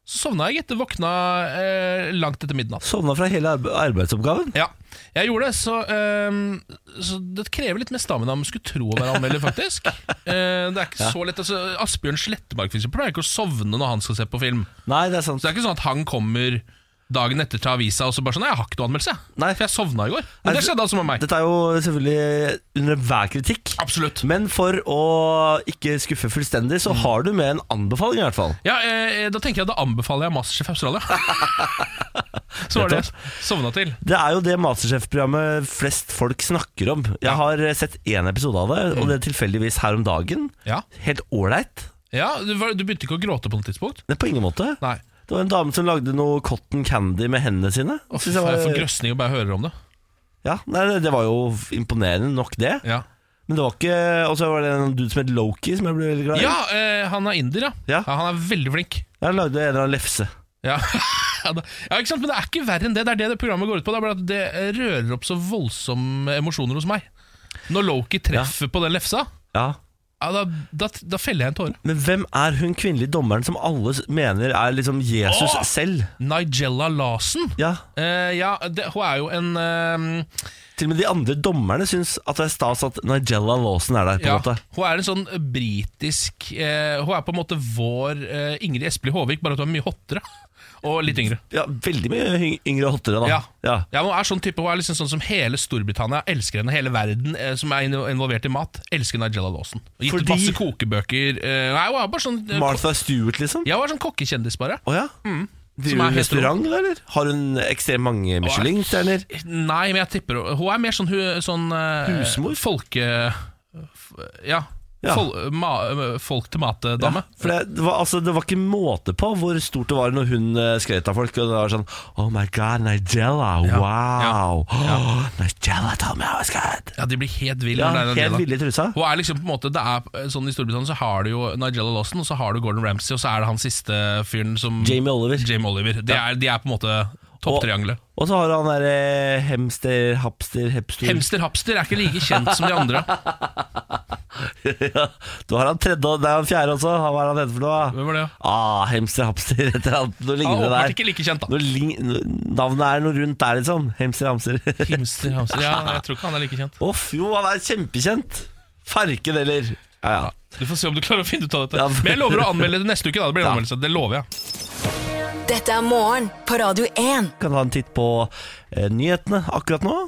Speaker 2: Så sovna jeg, gitt. Våkna eh, langt etter midnatt.
Speaker 1: Sovna fra hele arbe- arbeidsoppgaven?
Speaker 2: Ja, jeg gjorde det, så, ehm, så det krever litt mer stamina enn man skulle tro å være anmelder, faktisk. Eh, det er ikke så lett. Altså, Asbjørn Slettemark for eksempel, pleier ikke å sovne når han skal se på film.
Speaker 1: Nei, det er sant.
Speaker 2: Så det er ikke sånn at han kommer dagen etter til avisa og så bare sånn Nei, jeg har ikke noe anmeldelse,
Speaker 1: Nei.
Speaker 2: for jeg sovna i går.
Speaker 1: Nei,
Speaker 2: Men det skjedde altså med meg.
Speaker 1: Dette er jo selvfølgelig under enhver kritikk.
Speaker 2: Absolutt.
Speaker 1: Men for å ikke skuffe fullstendig, så har du med en anbefaling i hvert fall.
Speaker 2: Ja, eh, Da tenker jeg at da anbefaler jeg Masterchef Australia. så var det jeg sovna til.
Speaker 1: Det er jo det Masterchef-programmet flest folk snakker om. Jeg har eh, sett én episode av det, og
Speaker 2: Mm.
Speaker 1: det er tilfeldigvis her om dagen.
Speaker 2: Ja,
Speaker 1: Helt ålreit.
Speaker 2: ja du, var, du begynte ikke å gråte på noe tidspunkt?
Speaker 1: Det er på ingen måte.
Speaker 2: Nei.
Speaker 1: Det var en dame som lagde noe cotton candy med hendene sine.
Speaker 2: Å, fy
Speaker 1: Synes jeg
Speaker 2: faen, jeg
Speaker 1: var-
Speaker 2: får grøsning og bare hører om det.
Speaker 1: ja, nei, det- det var jo imponerende nok, det.
Speaker 2: Ja,
Speaker 1: Men det var ikke Og så var det en dude som het Loki, som jeg ble veldig glad i.
Speaker 2: ja eh, han er inder, ja.
Speaker 1: Ja.
Speaker 2: ja. Han er veldig flink.
Speaker 1: Jeg lagde en eller annen lefse.
Speaker 2: Ja. ja, da- ja, ikke sant, Men det er ikke verre enn det. Det er det det programmet går ut på. Det er bare at det eh, rører opp så voldsomme emosjoner hos meg. Når Loki treffer på den lefsa,
Speaker 1: Ja
Speaker 2: ja, da, da, da feller jeg en tåre.
Speaker 1: Men hvem er hun kvinnelige dommeren som alle s- mener er liksom Jesus
Speaker 2: Åh!
Speaker 1: selv?
Speaker 2: Nigella Larsen.
Speaker 1: Ja,
Speaker 2: Eh, ja, det, hun er jo en eh,
Speaker 1: Til og med de andre dommerne syns at det er stas at Nigella Lawson er der. på en
Speaker 2: ja,
Speaker 1: måte
Speaker 2: Hun er en sånn britisk eh, Hun er på en måte vår eh, Ingrid Espelid Håvik, bare at hun er mye hottere. Og litt yngre.
Speaker 1: Ja, Veldig mye yng- yngre og hottere, da.
Speaker 2: Ja.
Speaker 1: Ja.
Speaker 2: Ja, men Hun er sånn type Hun er liksom sånn som hele Storbritannia elsker henne. Hele verden eh, som er inno- involvert i mat, elsker Nigella Lawson. Og Gitt
Speaker 1: Fordi-
Speaker 2: ut masse kokebøker. Eh, nei, hun er bare sånn eh,
Speaker 1: Martha Stewart, liksom.
Speaker 2: ko- Ja, hun er sånn kokkekjendis, bare.
Speaker 1: Å ja?
Speaker 2: Som
Speaker 1: Driver
Speaker 2: er
Speaker 1: hun
Speaker 2: helt
Speaker 1: restaurant, da, eller? Har hun ekstremt mange Michelin-stjerner?
Speaker 2: Nei, men jeg tipper Hun er mer sånn, hun, sånn eh,
Speaker 1: Husmor?
Speaker 2: Folke... Ja.
Speaker 1: Ja.
Speaker 2: Fol, ma, eh, folk til mat-dame.
Speaker 1: For det, det, var, altså, det var ikke måte på hvor stort det var når hun eh, skrøt av folk. Og det var sånn Oh my god, Nigella, wow! Åh, Nigella told me I was good!
Speaker 2: Ja, de blir helt ville.
Speaker 1: Ja,
Speaker 2: når
Speaker 1: helt
Speaker 2: det er Nigella.
Speaker 1: ville i trusa.
Speaker 2: Hun er liksom på en måte det er, sånn I Storbritannia så har du jo Nigella Lawson, og så har du Gordon Ramsay, og så er det han siste fyren som
Speaker 1: Jamie Oliver.
Speaker 2: Jamie Oliver. De, er, de er på en måte topptriangelet.
Speaker 1: Og så har han der eh, Hemster, Hapster, Hepstor
Speaker 2: Hemster Hapster er ikke like kjent som de andre.
Speaker 1: ja. Du har han tredje, og- det er han fjerde også Hva er han heter for noe?
Speaker 2: Hvem var det?
Speaker 1: Ah, Hemster, Hapster, et eller annet Noe
Speaker 2: Han
Speaker 1: lignende
Speaker 2: åpenbart
Speaker 1: der
Speaker 2: ikke like kjent, da.
Speaker 1: noe ling Navnet er noe rundt der liksom Hemster, Hamster Åh,
Speaker 2: Hemster Hapster, ja, jeg tror ikke han er like kjent.
Speaker 1: jo, han er kjempekjent Farken eller Ja, ja
Speaker 2: Du får se om du klarer å finne ut av dette.
Speaker 1: Ja.
Speaker 2: Men jeg lover å anmelde det neste uke. da Det blir en anmeldelse, det lover jeg.
Speaker 4: Dette er morgen på Radio 1.
Speaker 1: Kan ta en titt på eh, nyhetene akkurat nå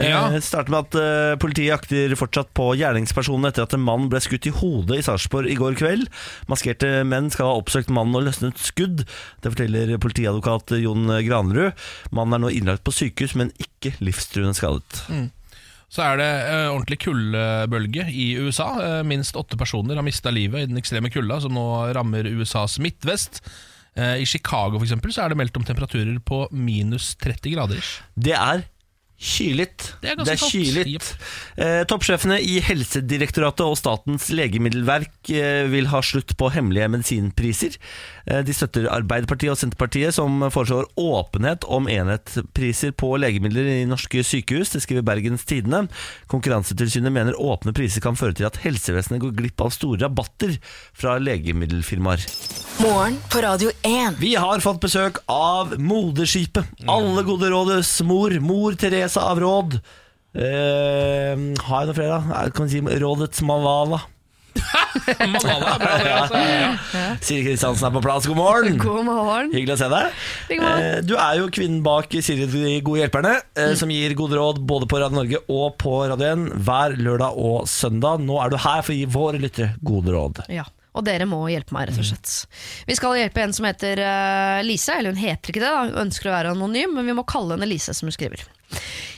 Speaker 2: Ja.
Speaker 1: Eh, starter med at eh, politiet jakter fortsatt på gjerningspersonen etter at en mann ble skutt i hodet i Sarpsborg i går kveld. Maskerte menn skal ha oppsøkt mannen og løsnet skudd. Det forteller politiadvokat Jon Granrud. Mannen er nå innlagt på sykehus, men ikke livstruende skadet.
Speaker 2: Så er det eh, ordentlig kuldebølge i USA. Eh, minst åtte personer har mista livet i den ekstreme kulda, som nå rammer USAs midtvest. Eh, I Chicago for eksempel, så er det meldt om temperaturer på minus 30 grader. ish.
Speaker 1: Det er kyligt.
Speaker 2: Det er ganske kaldt.
Speaker 1: kyligt. Eh, toppsjefene i Helsedirektoratet og Statens legemiddelverk eh, vil ha slutt på hemmelige medisinpriser. Eh, de støtter Arbeiderpartiet og Senterpartiet, som foreslår åpenhet om enhetspriser på legemidler i norske sykehus. Det skriver Bergens Tidende. Konkurransetilsynet mener åpne priser kan føre til at helsevesenet går glipp av store rabatter fra legemiddelfirmaer.
Speaker 4: Morgen på Radio 1.
Speaker 1: Vi har fått besøk av moderskipet. Alle gode rådes mor, mor Teresa av Råd. Eh, har jeg noe flere, da? Eh, Kan vi si Rådets Malala?
Speaker 2: Malala er bra, det, altså. Ja.
Speaker 1: Siri Kristiansen er på plass, god morgen.
Speaker 3: God morgen.
Speaker 1: Hyggelig å se deg.
Speaker 3: Like morgen.
Speaker 1: Eh, du er jo kvinnen bak Siri de gode hjelperne, eh,
Speaker 3: Mm.
Speaker 1: som gir gode råd både på Radio Norge og på Radio 1 hver lørdag og søndag. Nå er du her for å gi våre lyttere gode råd.
Speaker 3: Ja, og dere må hjelpe meg, rett og slett. Vi skal hjelpe en som heter eh, Lise, eller hun heter ikke det, da. hun ønsker å være anonym, men vi må kalle henne Lise, som hun skriver.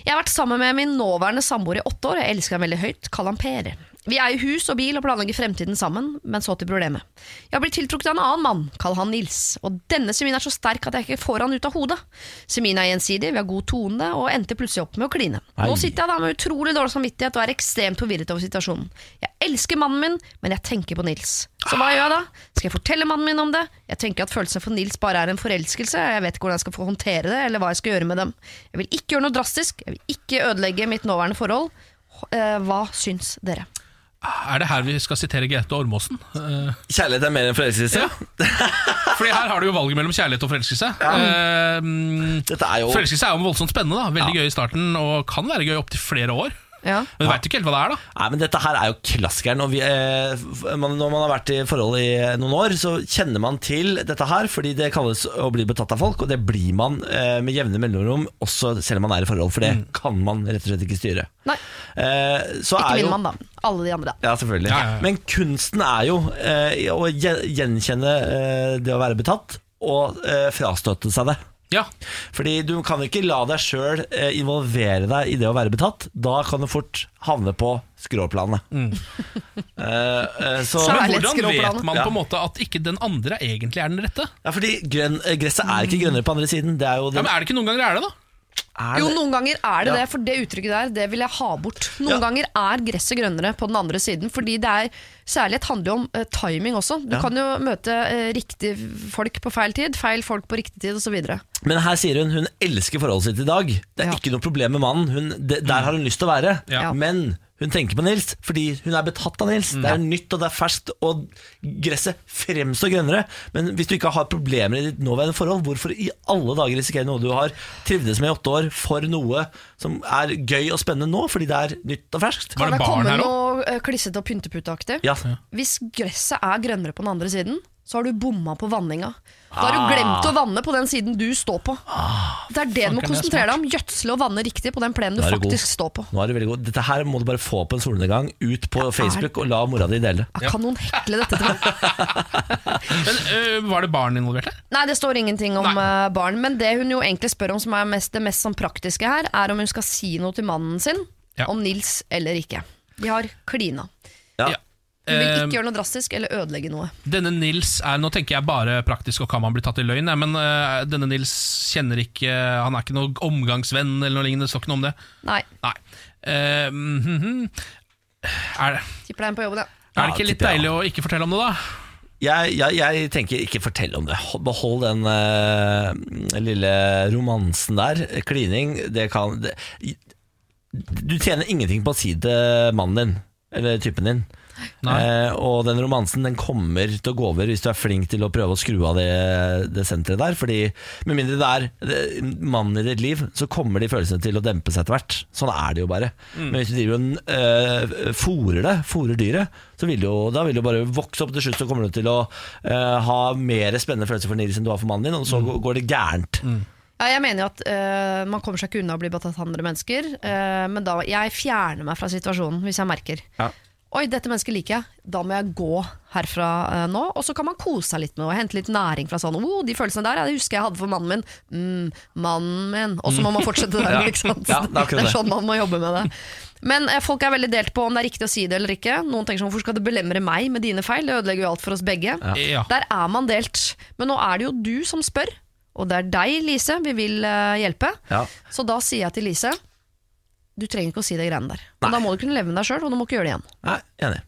Speaker 3: Jeg har vært sammen med min nåværende samboer i åtte år, jeg elsker ham veldig høyt, kall ham Per. Vi eier hus og bil og planlegger fremtiden sammen, men så til problemet. Jeg blir tiltrukket av en annen mann, kall han Nils, og denne semien er så sterk at jeg ikke får han ut av hodet. Semien er gjensidig, vi har god tone og endte plutselig opp med å kline.
Speaker 1: Ei.
Speaker 3: Nå sitter jeg da med utrolig dårlig samvittighet og er ekstremt forvirret over situasjonen. Jeg elsker mannen min, men jeg tenker på Nils. Så hva gjør jeg da? Skal jeg fortelle mannen min om det? Jeg tenker at følelsen for Nils bare er en forelskelse, jeg vet ikke hvordan jeg skal få håndtere det, eller hva jeg skal gjøre med dem. Jeg vil ikke gjøre noe drastisk, jeg vil ikke ødelegge mitt nåværende forhold. Eh, Hva syns dere?
Speaker 2: Er det her vi skal sitere Gaute Ormåsen? Eh,
Speaker 1: Kjærlighet er mer enn forelskelse.
Speaker 2: Ja. Fordi her har du jo valget mellom kjærlighet og forelskelse. Eh, mm,
Speaker 1: Dette er jo
Speaker 2: forelskelse er jo voldsomt spennende. da Veldig gøy i starten, og kan være gøy opptil flere år.
Speaker 3: Ja.
Speaker 2: Men du veit ikke helt hva det er, da.
Speaker 1: Nei, men Dette her er jo klassikeren. Og vi, eh, f- man, når man har vært i forhold i eh, noen år, så kjenner man til dette her, fordi det kalles å bli betatt av folk, og det blir man eh, med jevne mellomrom, også selv om man er i forhold, for
Speaker 2: Mm.
Speaker 1: det kan man rett og slett ikke styre.
Speaker 3: Nei,
Speaker 1: Eh, så
Speaker 3: ikke
Speaker 1: er jo,
Speaker 3: min mann, da. Alle de andre.
Speaker 1: Ja, selvfølgelig.
Speaker 2: Ja, ja, ja.
Speaker 1: Men kunsten er jo eh, å gjen- gjenkjenne eh, det å være betatt, og eh, frastøtte seg det.
Speaker 2: Ja,
Speaker 1: Fordi du kan ikke la deg sjøl involvere deg i det å være betatt. Da kan du fort havne på skråplanet.
Speaker 2: Mm.
Speaker 1: Eh, eh, så,
Speaker 3: Så-
Speaker 2: Men
Speaker 3: Det er litt
Speaker 2: hvordan
Speaker 3: skråplan, da.
Speaker 2: vet man
Speaker 1: Ja.
Speaker 2: på en måte at ikke den andre egentlig er den rette?
Speaker 1: ja, fordi grønn, eh, gresset er ikke grønnere på andre siden. Det er jo
Speaker 2: Ja,
Speaker 1: det,
Speaker 2: men Er det ikke noen ganger det er det, da?
Speaker 1: er
Speaker 3: Jo,
Speaker 1: det,
Speaker 3: noen ganger er det
Speaker 1: Ja.
Speaker 3: det, for det uttrykket der, det vil jeg ha bort.
Speaker 1: Ja.
Speaker 3: Noen ganger er gresset grønnere på den andre siden, fordi det er Særlighet handler jo om eh, timing også. Du
Speaker 1: Ja.
Speaker 3: kan jo møte eh, riktig folk på feil tid, feil folk på riktig tid osv.
Speaker 1: men her sier hun hun elsker forholdet sitt i dag. Det er
Speaker 3: Ja.
Speaker 1: ikke noe problem med mannen. Hun, det, der har hun lyst til å være.
Speaker 2: Ja.
Speaker 1: Men hun tenker på Nils fordi hun er betatt av Nils. Det er nytt og det er ferskt, og gresset fremstår grønnere. Men hvis du ikke har problemer i ditt nåværende forhold, hvorfor i alle dager risikere noe du har trivdes med i åtte år, for noe som er gøy og spennende nå, fordi det er nytt og ferskt?
Speaker 2: Var
Speaker 3: Kan
Speaker 2: det
Speaker 3: det
Speaker 2: barn
Speaker 3: komme
Speaker 2: her òg?
Speaker 3: noe eh, klissete og pynteputeaktig?
Speaker 1: Ja.
Speaker 3: Hvis gresset er grønnere på den andre siden, så har du bomma på vanninga. Da har
Speaker 1: Ah.
Speaker 3: du glemt å vanne på den siden du står på. Det er det du må
Speaker 2: Fanken, det er
Speaker 3: konsentrere deg om. Gjødsle og vanne riktig på den plenen du
Speaker 1: Da er du god.
Speaker 3: faktisk står på.
Speaker 1: Nå er du veldig god. Dette her må du bare få på en solnedgang, ut på Facebook og la mora di dele.
Speaker 3: Ja, Kan noen hekle dette til meg?
Speaker 2: Men, øh, var det barn involvert her?
Speaker 3: Nei, det står ingenting om eh, barn. Men det hun jo egentlig spør om som er mest, det mest sånn praktiske her, er om hun skal si noe til mannen sin
Speaker 2: Ja.
Speaker 3: om Nils eller ikke. De har klina.
Speaker 1: Ja.
Speaker 3: Hun vil
Speaker 2: Eh,
Speaker 3: ikke gjøre noe drastisk eller ødelegge noe.
Speaker 2: Denne Nils er, Nå tenker jeg bare praktisk og kan man bli tatt i løgn, jeg, men øh, denne Nils kjenner ikke Han er ikke noen omgangsvenn eller noe lignende. Det står ikke noe om det.
Speaker 3: Nei,
Speaker 2: Nei. Eh, mhm, mhm. er,
Speaker 3: tipper det er en på jobben, ja.
Speaker 2: er det
Speaker 1: Ja,
Speaker 2: ikke litt
Speaker 1: tipper jeg,
Speaker 2: deilig å ikke fortelle om det, da?
Speaker 1: Jeg, jeg, jeg tenker ikke fortell om det. Hold- Behold den eh, lille romansen der. Klining, det kan det, Du tjener ingenting på å si det til mannen din, eller typen din.
Speaker 2: Nei.
Speaker 1: Eh, og den romansen den kommer til å gå over hvis du er flink til å prøve å skru av det, det senteret der. Fordi med mindre det er det- mannen i ditt liv, så kommer de følelsene til å dempe seg etter hvert. Sånn er det jo bare.
Speaker 3: Mm.
Speaker 1: Men hvis du driver og eh, fôrer det, fôrer dyret, så vil det jo, da vil det jo bare vokse opp. Til slutt så kommer du til å eh, ha mer spennende følelser for Nils enn du har for mannen din, og så
Speaker 3: Mm.
Speaker 1: går- går det gærent.
Speaker 3: ja jeg mener jo at eh, man kommer seg ikke unna å bli betatt av andre mennesker, eh, men da jeg fjerner meg fra situasjonen hvis jeg merker.
Speaker 1: Ja.
Speaker 3: Oi, dette mennesket liker jeg. Da må jeg gå herfra eh, nå. Og så kan man kose seg litt med det. Hente litt næring fra sånn oh, de følelsene der, ja, det husker jeg hadde for mannen min. Mm, mannen min. Og så må man fortsette der.
Speaker 1: Ja.
Speaker 3: ikke sant?
Speaker 1: Ja, det er akkurat
Speaker 3: det
Speaker 1: det.
Speaker 3: er sånn man må jobbe med det. Men eh, folk er veldig delt på om det er riktig å si det eller ikke. Noen tenker sånn, hvorfor skal det belemre meg med dine feil? Det ødelegger jo alt for oss begge.
Speaker 2: Ja.
Speaker 3: Der er man delt. Men nå er det jo du som spør, og det er deg, Lise, vi vil eh, hjelpe.
Speaker 1: Ja.
Speaker 3: Så da sier jeg til Lise, du trenger ikke å si de greiene der. Og da må du kunne leve med deg sjøl, og du må ikke gjøre det igjen.
Speaker 1: Nei, enig.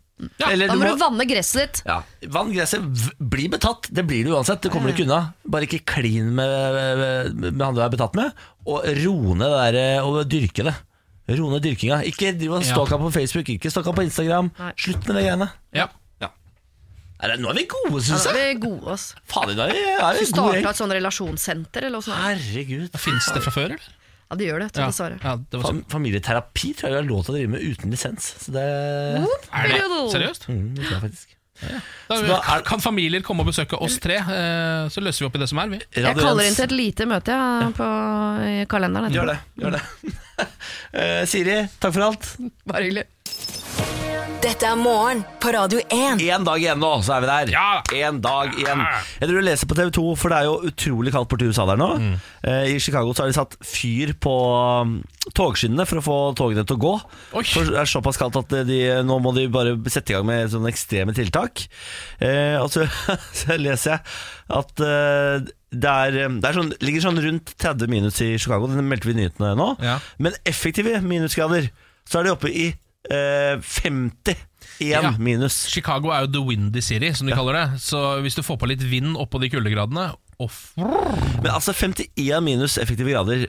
Speaker 2: Ja,
Speaker 1: Eller
Speaker 3: Da må du vanne gresset ditt.
Speaker 1: Ja. Vann gresset, v- bli betatt. Det blir du uansett. Det kommer du ikke unna. Bare ikke klin med, med han du er betatt med, og ro ned det der eh, og dyrke det. Ro ned dyrkinga. Ikke driv og
Speaker 2: Ja.
Speaker 1: stalk ham på Facebook, ikke stalk ham på Instagram.
Speaker 3: Nei.
Speaker 1: Slutt med de greiene.
Speaker 2: Ja.
Speaker 1: Er det, nå er vi gode,
Speaker 3: Ja,
Speaker 1: syns
Speaker 3: da
Speaker 1: jeg.
Speaker 3: er vi gode, ass.
Speaker 1: Fader, nå er vi, er vi
Speaker 3: Du
Speaker 1: gode
Speaker 3: starta
Speaker 1: gjeng.
Speaker 3: et sånn relasjonssenter, eller noe sånt?
Speaker 1: Herregud.
Speaker 2: Fins det fra før, eller?
Speaker 3: Ja, det gjør det, tror jeg, dessverre.
Speaker 2: ja, det var
Speaker 1: Fam familieterapi tror jeg vi har lov til å drive med uten lisens. Så det,
Speaker 2: er det Seriøst?
Speaker 1: mm, det tror jeg faktisk.
Speaker 2: Da,
Speaker 1: da er-
Speaker 2: kan familier komme og besøke oss tre, eh, så løser vi opp i det som er, vi.
Speaker 3: Jeg kaller inn til et lite møte ja, på, i kalenderen.
Speaker 1: Gjør det. Gjør det. Eh, Siri, takk for alt.
Speaker 3: Bare hyggelig.
Speaker 4: Dette er morgen på Radio 1.
Speaker 1: Én dag igjen nå, så er vi der.
Speaker 2: Ja.
Speaker 1: En dag igjen. Jeg tror du leser på TV 2, for det er jo utrolig kaldt borti USA der nå.
Speaker 2: Mm.
Speaker 1: Eh, I Chicago så har de satt fyr på um, togskinnene for å få togene til å gå.
Speaker 2: Oi.
Speaker 1: For det er såpass kaldt at eh, de, nå må de bare sette i gang med sånne ekstreme tiltak. Eh, og så, så leser jeg at eh, det, er, eh, det er sånn, ligger sånn rundt 30 minus i Chicago, den meldte vi i nyhetene nå.
Speaker 2: Ja.
Speaker 1: Men effektive minusgrader, så er de oppe i eh, 51
Speaker 2: Ja.
Speaker 1: minus.
Speaker 2: Chicago er jo the windy city, som de kaller det. Så hvis du får på litt vind oppå de kuldegradene off.
Speaker 1: Men altså 51 minus effektive grader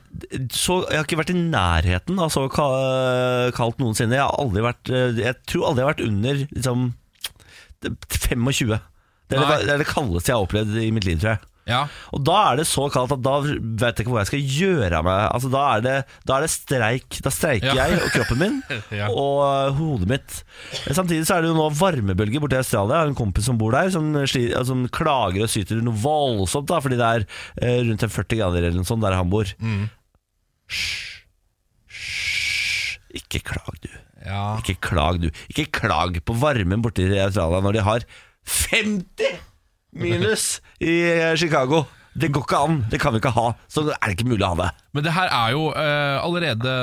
Speaker 1: så Jeg har ikke vært i nærheten av så ka- kaldt noensinne. Jeg, har aldri vært, eh, jeg tror aldri jeg har vært under liksom, 25. Det er det,
Speaker 2: Nei.
Speaker 1: det er det kaldeste jeg har opplevd i mitt liv, tror jeg.
Speaker 2: Ja.
Speaker 1: Og da er det så kaldt at da vet jeg ikke hvor jeg skal gjøre av meg. Altså, da, er det, da er det streik. Da streiker
Speaker 2: Ja.
Speaker 1: jeg og kroppen min
Speaker 2: Ja.
Speaker 1: og hodet mitt. Men Samtidig så er det jo nå varmebølger borte i Australia. Jeg har en kompis som bor der, som, sli- altså, som klager og syter noe voldsomt da, fordi det er eh, rundt en 40 grader eller noe sånt der han bor.
Speaker 2: Mm.
Speaker 1: Hysj. Hysj. Ikke klag, du.
Speaker 2: ja.
Speaker 1: Ikke klag, du. Ikke klag på varmen borte i Australia når de har 50 minus i eh, Chicago. Det går ikke an. Det kan vi ikke ha. Så er det ikke mulig å ha det.
Speaker 2: Men det her er jo eh, allerede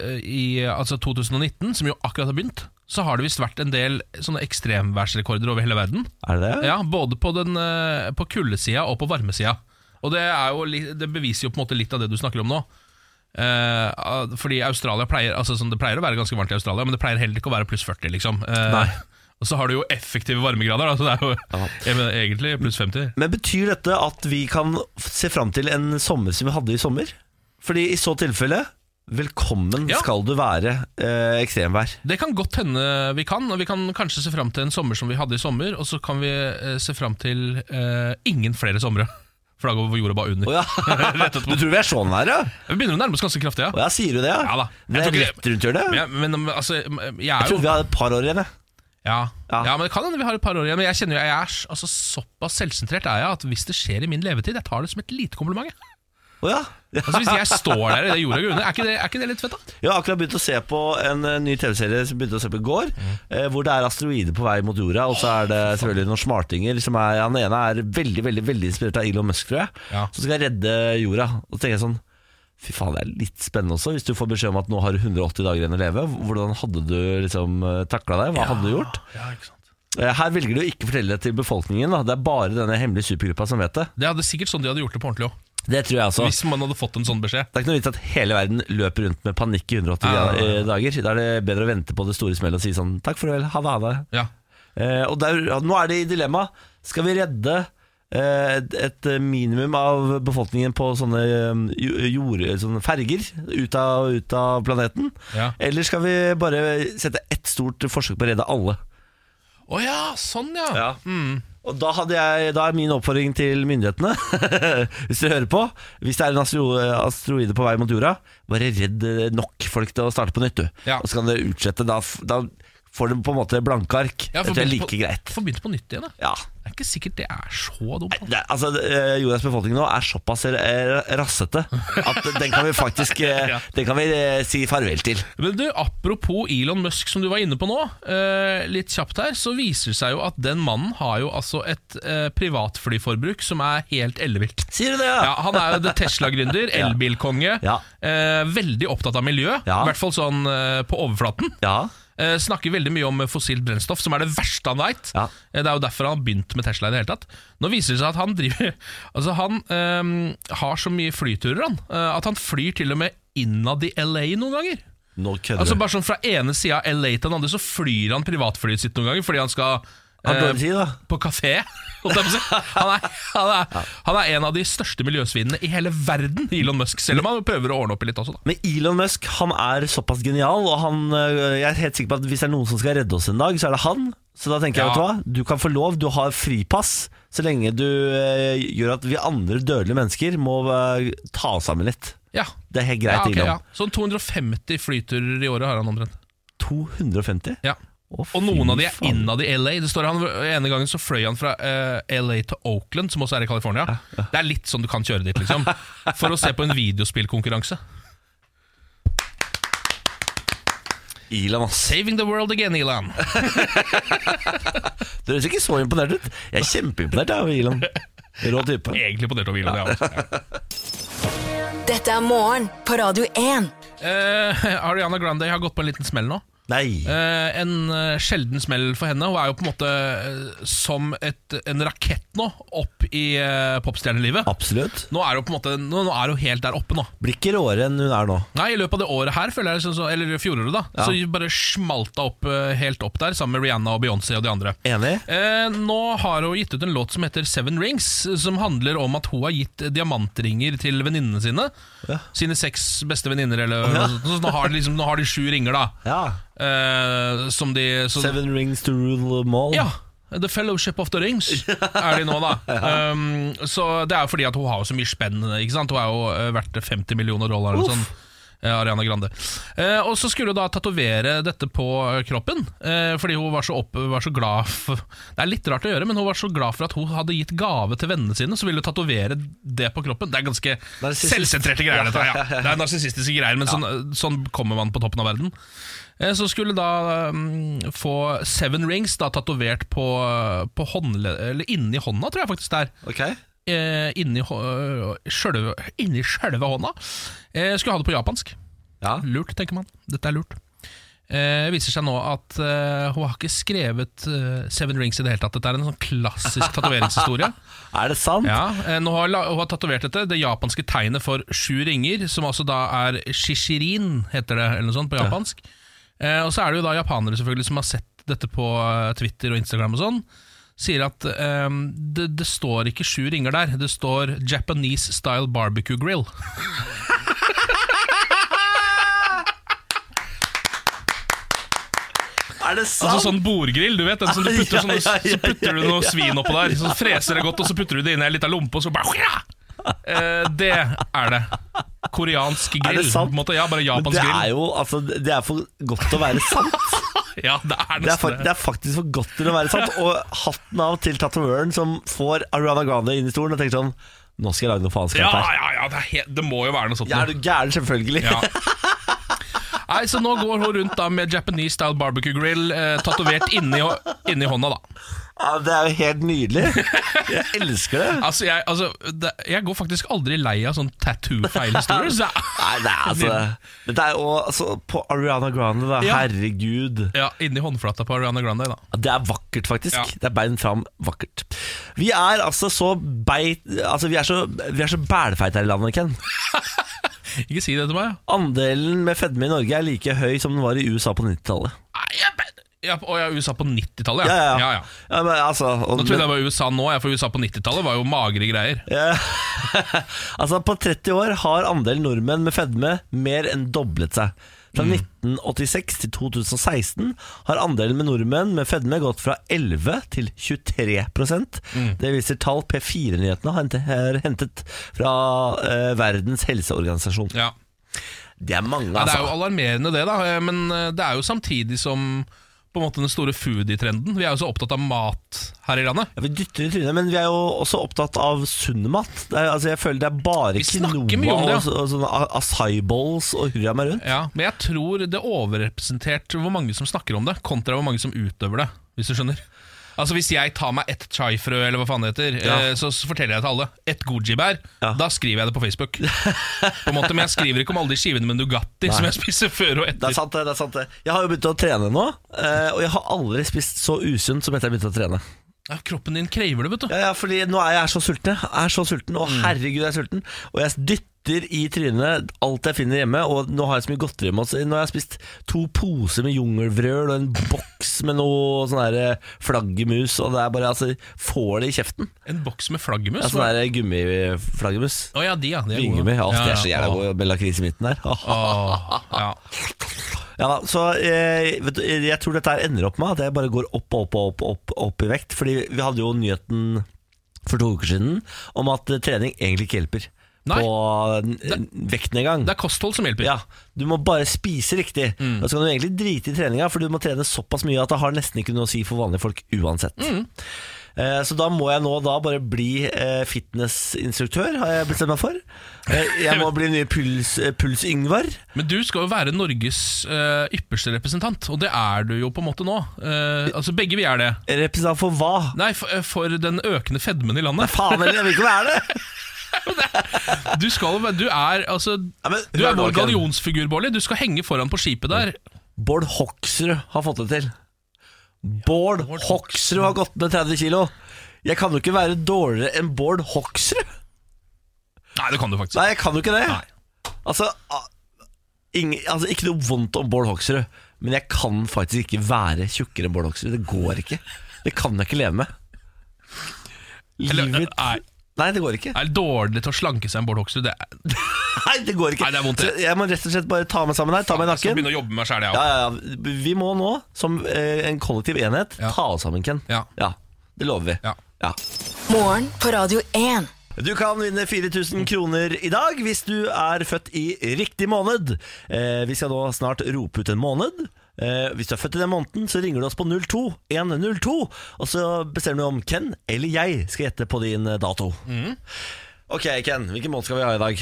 Speaker 2: eh, i altså 2019, som jo akkurat har begynt, så har det visst vært en del sånne ekstremværsrekorder over hele verden.
Speaker 1: Er det det?
Speaker 2: Ja, Både på, den, eh, på kuldesida og på varmesida. Og det, er jo, li- det beviser jo på en måte litt av det du snakker om nå. Eh, ah, fordi Australia pleier altså sånn, Det pleier å være ganske varmt i Australia, men det pleier heller ikke å være pluss 40, liksom. Eh,
Speaker 1: Nei.
Speaker 2: Og så har du jo effektive varmegrader, da, så det er jo jeg mener, egentlig pluss 50.
Speaker 1: Men betyr dette at vi kan f- se fram til en sommer som vi hadde i sommer? Fordi i så tilfelle Velkommen
Speaker 2: Ja.
Speaker 1: skal du være eh, ekstremvær.
Speaker 2: Det kan godt hende vi kan, og vi kan kanskje se fram til en sommer som vi hadde i sommer, og så kan vi eh, se fram til eh, ingen flere somre. For da går jorda bare under.
Speaker 1: Å ja.
Speaker 2: Rett
Speaker 1: Du
Speaker 2: etterpå.
Speaker 1: tror vi er sånn her, ja?
Speaker 2: Vi begynner å nærme oss ganske kraftig,
Speaker 1: Å ja, sier du det?
Speaker 2: Ja da. Jeg
Speaker 1: Det
Speaker 2: tror
Speaker 1: er
Speaker 2: ikke
Speaker 1: rett rundt hjørnet.
Speaker 2: Men,
Speaker 1: Jeg
Speaker 2: jeg- men um, altså, jeg er
Speaker 1: tror
Speaker 2: jo
Speaker 1: vi har et par år igjen, jeg.
Speaker 2: ja.
Speaker 1: Ja.
Speaker 2: ja, men det kan hende vi har et par år igjen. Men jeg kjenner jo, jeg er s- altså, såpass selvsentrert er jeg at hvis det skjer i min levetid, jeg tar det som et lite kompliment. jeg.
Speaker 1: Å ja.
Speaker 2: Altså Hvis jeg står der i det jorda går under, er ikke det, er ikke det litt fett, da?
Speaker 1: Jeg har akkurat begynt å se på en eh, ny TV-serie som jeg begynte å se på i går, eh, hvor det er asteroider på vei mot jorda, og så er det selvfølgelig noen smartinger som er Han ene er veldig, veldig veldig inspirert av Elon Musk, tror jeg,
Speaker 2: Ja.
Speaker 1: som skal redde jorda. Og så tenker jeg sånn Fy faen, det er litt spennende også, hvis du får beskjed om at nå har du 180 dager igjen å leve. Hvordan hadde du liksom takla deg? Hva hadde du gjort?
Speaker 2: Ja, ikke sant
Speaker 1: Eh, Her velger du å ikke fortelle det til befolkningen. Da. Det er bare denne hemmelige supergruppa som vet det.
Speaker 2: Det hadde sikkert sånn de hadde gjort det på ordentlig òg.
Speaker 1: Det tror jeg også.
Speaker 2: Hvis man hadde fått en sånn beskjed.
Speaker 1: Det er ikke noe vits at hele verden løper rundt med panikk i 180
Speaker 2: Ah, Ja, ja, ja.
Speaker 1: gra- eh, dager. Da er det bedre å vente på det store smellet og si sånn takk for vel, ha det, ha det.
Speaker 2: Ja,
Speaker 1: Eh, og der, ja, nå er det i dilemma. Skal vi redde eh, et, et minimum av befolkningen på sånne, eh, jo- jord, sånne ferger ut av, ut av planeten?
Speaker 2: ja.
Speaker 1: Eller skal vi bare sette ett stort forsøk på å redde alle?
Speaker 2: Å ja, sånn ja.
Speaker 1: Ja. Og da, hadde jeg, da er min oppfordring til myndighetene, hvis dere hører på Hvis det er en astro asteroide på vei mot jorda, bare redd eh, nok folk til å starte på nytt, du.
Speaker 2: Ja.
Speaker 1: Og så kan dere utsette. Da, f- da får dere på en måte blanke ark.
Speaker 2: Ja,
Speaker 1: det tror jeg er
Speaker 2: begynne
Speaker 1: like
Speaker 2: på,
Speaker 1: greit.
Speaker 2: Få begynt på nytt igjen, da.
Speaker 1: Ja.
Speaker 2: Det er ikke sikkert det er så dumt. da.
Speaker 1: Det, er- altså, eh, jordas befolkning nå er såpass eh, rassete at den kan vi faktisk eh,
Speaker 2: Ja.
Speaker 1: Den kan vi eh, si farvel til.
Speaker 2: Men du, Apropos Elon Musk, som du var inne på nå, eh, litt kjapt her, så viser det seg jo at den mannen har jo altså et eh, privatflyforbruk som er helt ellevilt.
Speaker 1: Sier du det,
Speaker 2: Ja, han er jo det Tesla-gründer, elbilkonge,
Speaker 1: Ja.
Speaker 2: eh, veldig opptatt av miljø.
Speaker 1: Ja.
Speaker 2: I hvert fall sånn eh, på overflaten.
Speaker 1: Ja.
Speaker 2: Eh, snakker veldig mye om fossilt brennstoff, som er det verste han veit.
Speaker 1: Ja.
Speaker 2: Eh, det er jo derfor han har begynt med Tesla i det hele tatt. Nå viser det seg at han driver Altså, han ehm, har så mye flyturer, han, eh, at han flyr til og med innad i LA noen ganger.
Speaker 1: Nå kødder
Speaker 2: Altså
Speaker 1: du.
Speaker 2: Bare sånn fra ene sida av LA til den andre, så flyr han privatflyet sitt noen ganger fordi han skal
Speaker 1: Har
Speaker 2: eh,
Speaker 1: dårlig tid, da.
Speaker 2: på kafé. holdt jeg på å si. Han er, han, er, han er en av de største miljøsvinene i hele verden, Elon Musk. Selv om han prøver å ordne opp i litt også, da.
Speaker 1: Men Elon Musk han er såpass genial, og han, øh, jeg er helt sikker på at hvis det er noen som skal redde oss en dag, så er det han. Så da tenker jeg,
Speaker 2: Ja.
Speaker 1: vet du hva, du kan få lov, du har fripass, så lenge du øh, gjør at vi andre dødelige mennesker må øh, ta oss sammen litt.
Speaker 2: Ja.
Speaker 1: Det er helt
Speaker 2: Ja,
Speaker 1: greit,
Speaker 2: ok, ja.
Speaker 1: Elon.
Speaker 2: Sånn 250 flyturer i året har han omtrent.
Speaker 1: 250?
Speaker 2: Ja.
Speaker 1: Å, fy
Speaker 2: Og noen av de er
Speaker 1: faen.
Speaker 2: innad i LA. Det står han, ene gangen så fløy han fra eh, LA til Oakland, som også er i California. Det er litt sånn du kan kjøre dit, liksom. For å se på en videospillkonkurranse.
Speaker 1: Ilan, ass.
Speaker 2: Saving the world again, Ilan.
Speaker 1: Du høres ikke så imponert ut. Jeg er kjempeimponert jeg, over Ilan. Rå type.
Speaker 2: Egentlig på det til å hvile. det, Ja.
Speaker 4: Dette er morgen på Radio 1.
Speaker 2: Eh, Ariana Grande har gått på en liten smell nå.
Speaker 1: Nei.
Speaker 2: Eh, en eh, sjelden smell for henne. Hun er jo på en måte eh, som et, en rakett nå, opp i eh, popstjernelivet.
Speaker 1: Absolutt.
Speaker 2: Nå er hun på en måte Nå, nå er hun helt der oppe nå.
Speaker 1: Blir ikke råere enn hun er nå.
Speaker 2: Nei, I løpet av det året her, føler jeg, sånn som- eller fjoråret, da,
Speaker 1: Ja.
Speaker 2: så bare smalt hun opp, eh, helt opp der sammen med Rihanna og Beyoncé og de andre.
Speaker 1: Enig?
Speaker 2: Eh, nå har hun gitt ut en låt som heter Seven Rings, som handler om at hun har gitt diamantringer til venninnene sine.
Speaker 1: Ja.
Speaker 2: Sine seks beste venninner, eller
Speaker 1: Ja.
Speaker 2: noe sånt. Så nå har, de liksom, nå har de sju ringer, da.
Speaker 1: Ja.
Speaker 2: Eh, som de så,
Speaker 1: Seven rings to rule them all.
Speaker 2: Ja. The Fellowship of the Rings er de nå, da. Um, så Det er jo fordi at hun har jo så mye spenn. Ikke sant? Hun er jo eh, verdt 50 millioner dollar. Eller sånn. eh, Ariana Grande. Eh, og så skulle hun da tatovere dette på eh, kroppen, eh, fordi hun var så, opp, var så glad for Det er litt rart å gjøre, men hun var så glad for at hun hadde gitt gave til vennene sine, så ville hun tatovere det på kroppen. Det er ganske
Speaker 1: Narsissist.
Speaker 2: selvsentrerte greier, dette. her, Ja. Det er narsissistiske greier, men sånn, sånn kommer man på toppen av verden. Eh, Så skulle da mm, få Seven Rings da tatovert på, på håndle... Eller inni hånda, tror jeg faktisk det er.
Speaker 1: Ok.
Speaker 2: Eh, inni, hå- eh, sjølve, inni sjølve hånda. Eh, skulle ha det på japansk.
Speaker 1: Ja.
Speaker 2: Lurt, tenker man. Dette er lurt. Eh, viser seg nå at eh, hun har ikke skrevet eh, Seven Rings i det hele tatt. Dette er en sånn klassisk tatoveringshistorie.
Speaker 1: Er det sant?
Speaker 2: Ja, eh, nå har, la- hun har tatovert dette. Det japanske tegnet for sju ringer, som altså da er shishirin, heter det eller noe sånt på japansk. Eh, og så er det jo da japanere selvfølgelig som har sett dette på eh, Twitter og Instagram og sånn. Sier at eh, det, det står ikke sju ringer der, det står Japanese style barbecue grill.
Speaker 1: Er det sant?
Speaker 2: Altså sånn bordgrill, du vet. Den som du
Speaker 1: Ja,
Speaker 2: putter sånne,
Speaker 1: ja, ja,
Speaker 2: så putter du
Speaker 1: ja,
Speaker 2: noe svin oppå der. Så freser det godt, og så putter du det inn i ei lita lompe, og så bare ja! eh, Det er det. Koreansk grill.
Speaker 1: er det sant?
Speaker 2: På en måte. Ja, bare
Speaker 1: Men
Speaker 2: japansk
Speaker 1: det er
Speaker 2: grill.
Speaker 1: jo altså, Det er for godt til å være sant.
Speaker 2: Ja, det er
Speaker 1: Det er,
Speaker 2: nesten
Speaker 1: fak- det er faktisk for godt til å være sant. Og hatten av til tatovøren som får Ariana Grande inn i stolen og tenker sånn Nå skal jeg lage noe faenskap
Speaker 2: Ja,
Speaker 1: her.
Speaker 2: ja, ja, det, er helt, det må jo være noe sånt.
Speaker 1: Ja, er
Speaker 2: noe.
Speaker 1: du gæren, selvfølgelig.
Speaker 2: Ja. Nei, Så nå går hun rundt da med Japanese style barbecue grill eh, tatovert inni, hå- inni hånda, da.
Speaker 1: Ja, det er jo helt nydelig. Jeg elsker det.
Speaker 2: Altså, jeg, altså, det, jeg går faktisk aldri lei av sånn tattoo-feilhistorier. så-
Speaker 1: Nei, det er altså Men det er jo altså, på Ariana Grande, da.
Speaker 2: Ja.
Speaker 1: Herregud.
Speaker 2: Ja, inni håndflata på Ariana Grande, da.
Speaker 1: Ja, Det er vakkert, faktisk.
Speaker 2: Ja.
Speaker 1: Det er bein fram, vakkert. Vi er altså så beit... Altså, vi er så, vi er så bælfeite her i landet, Ken.
Speaker 2: Ikke si det til meg. ja.
Speaker 1: Andelen med fedme i Norge er like høy som den var i USA på 90-tallet.
Speaker 2: Nei, jeg be- Ja, og jeg er USA på 90-tallet,
Speaker 1: Ja, ja,
Speaker 2: ja,
Speaker 1: ja. ja men, altså, og,
Speaker 2: Nå trodde jeg det var USA nå, jeg, for USA på 90-tallet var jo magre greier.
Speaker 1: altså, på 30 år har andelen nordmenn med fedme mer enn doblet seg. Fra
Speaker 2: Mm.
Speaker 1: 1986 til 2016 har andelen med nordmenn med fedme gått fra 11 til 23
Speaker 2: Mm.
Speaker 1: Det viser tall P4-nyhetene har hent- har hentet fra eh, Verdens helseorganisasjon.
Speaker 2: Ja.
Speaker 1: Det er mange,
Speaker 2: Ja, det er jo
Speaker 1: altså.
Speaker 2: alarmerende det, da. eh, Men eh, det er jo samtidig som på en måte den store foodie-trenden. Vi er jo så opptatt av mat her i landet.
Speaker 1: Ja, vi dytter i trynet, men vi er jo også opptatt av sunn mat. Det er, altså, jeg føler det er bare
Speaker 2: Vi
Speaker 1: quinoa
Speaker 2: snakker mye om det, ja.
Speaker 1: og, så- og sånne a- acai bowls og hurra meg rundt.
Speaker 2: Ja, men jeg tror det er overrepresentert hvor mange som snakker om det, kontra hvor mange som utøver det, hvis du skjønner. Altså Hvis jeg tar meg ett chai-frø, eller hva faen det heter,
Speaker 1: Ja.
Speaker 2: eh, så så forteller jeg det til alle. Ett goji-bær.
Speaker 1: Ja.
Speaker 2: Da skriver jeg det på Facebook. På en måte, Men jeg skriver ikke om alle de skivene med Nugatti som jeg spiser før og
Speaker 1: Det er
Speaker 2: etter.
Speaker 1: sant, det. det er sant det Jeg har jo begynt å trene nå, eh, og jeg har aldri spist så usunt som etter jeg begynte å trene.
Speaker 2: Ja, kroppen din krever det, vet du.
Speaker 1: Ja, ja, fordi nå er jeg så sulten. Jeg er så sulten, og herregud, jeg er sulten. Og jeg dytter i trynet alt jeg finner hjemme, og nå har jeg så mye godteri hjemme. også. Nå har jeg spist to poser med jungelvrøl og en boks med noe sånn der, eh, flaggermus, og det er bare altså Får det i kjeften.
Speaker 2: En boks med flaggermus.
Speaker 1: Ja, sånn der gummiflaggermus.
Speaker 2: Å ja, de, ja. De er
Speaker 1: Vingummi. Ja, det er så jævla
Speaker 2: ja.
Speaker 1: god med lakris i midten der.
Speaker 2: Åh, ja.
Speaker 1: Ja da, så eh, vet du, Jeg tror dette her ender opp med at jeg bare går opp og opp og opp, opp, opp i vekt. Fordi vi hadde jo nyheten for to uker siden om at eh, trening egentlig ikke hjelper
Speaker 2: Nei.
Speaker 1: på eh, vekten engang.
Speaker 2: Det er kosthold som hjelper.
Speaker 1: Ja, du må bare spise riktig. Og så kan du egentlig drite i treninga, for du må trene såpass mye at det har nesten ikke noe å si for vanlige folk uansett. Eh, Så da må jeg nå da bare bli eh, fitnessinstruktør, har jeg bestemt meg for. Eh, Jeg må bli ny Puls- eh, Puls-Yngvar.
Speaker 2: Men du skal jo være Norges eh, ypperste representant, og det er du jo på en måte nå. Eh, altså Begge vi er det.
Speaker 1: Representant for hva?
Speaker 2: Nei, for, eh, for den økende fedmen i landet.
Speaker 1: Faen heller, jeg vil ikke være det!
Speaker 2: Du, skal, jo være- du er altså
Speaker 1: Ja, men-
Speaker 2: Du er
Speaker 1: hør nå,
Speaker 2: vår
Speaker 1: Ken.
Speaker 2: gallionsfigur, Bårdli. Du skal henge foran på skipet der.
Speaker 1: Mm. Bård Hoksrud har fått det til. Bård Hoksrud har gått ned 30 kilo. Jeg kan jo ikke være dårligere enn Bård Hoksrud.
Speaker 2: Nei, det kan du faktisk.
Speaker 1: Nei, jeg kan jo ikke det. Altså, a- ingen, altså, ikke noe vondt om Bård Hoksrud, men jeg kan faktisk ikke være tjukkere enn Bård Hoksrud. Det går ikke. Det kan jeg ikke leve med.
Speaker 2: Eller,
Speaker 1: Livet mitt
Speaker 2: nei.
Speaker 1: Nei, det går ikke.
Speaker 2: Er dårlig til å slanke seg enn Bård Hoksrud. Det er-
Speaker 1: Nei, det går ikke.
Speaker 2: Nei, det er vondt, det.
Speaker 1: Så jeg må rett og slett bare ta meg sammen her. Ta meg i
Speaker 2: Jeg skal
Speaker 1: nakken.
Speaker 2: begynne å jobbe med meg sjæl,
Speaker 1: Ja,
Speaker 2: jeg òg.
Speaker 1: ja, ja. Vi må nå, som eh, en kollektiv enhet,
Speaker 2: Ja.
Speaker 1: ta oss sammen, Ken.
Speaker 2: Ja.
Speaker 1: Det lover vi.
Speaker 2: Ja.
Speaker 1: Ja.
Speaker 4: Morgen på Radio 1.
Speaker 1: Du kan vinne 4000 kroner i dag hvis du er født i riktig måned. Eh, vi skal nå snart rope ut en måned. Eh, hvis du er født i den måneden, så ringer du oss på 02102, og så bestemmer du om Ken eller jeg skal gjette på din eh, dato.
Speaker 2: Mm.
Speaker 1: Ok, Ken. Hvilken måned skal vi ha i dag?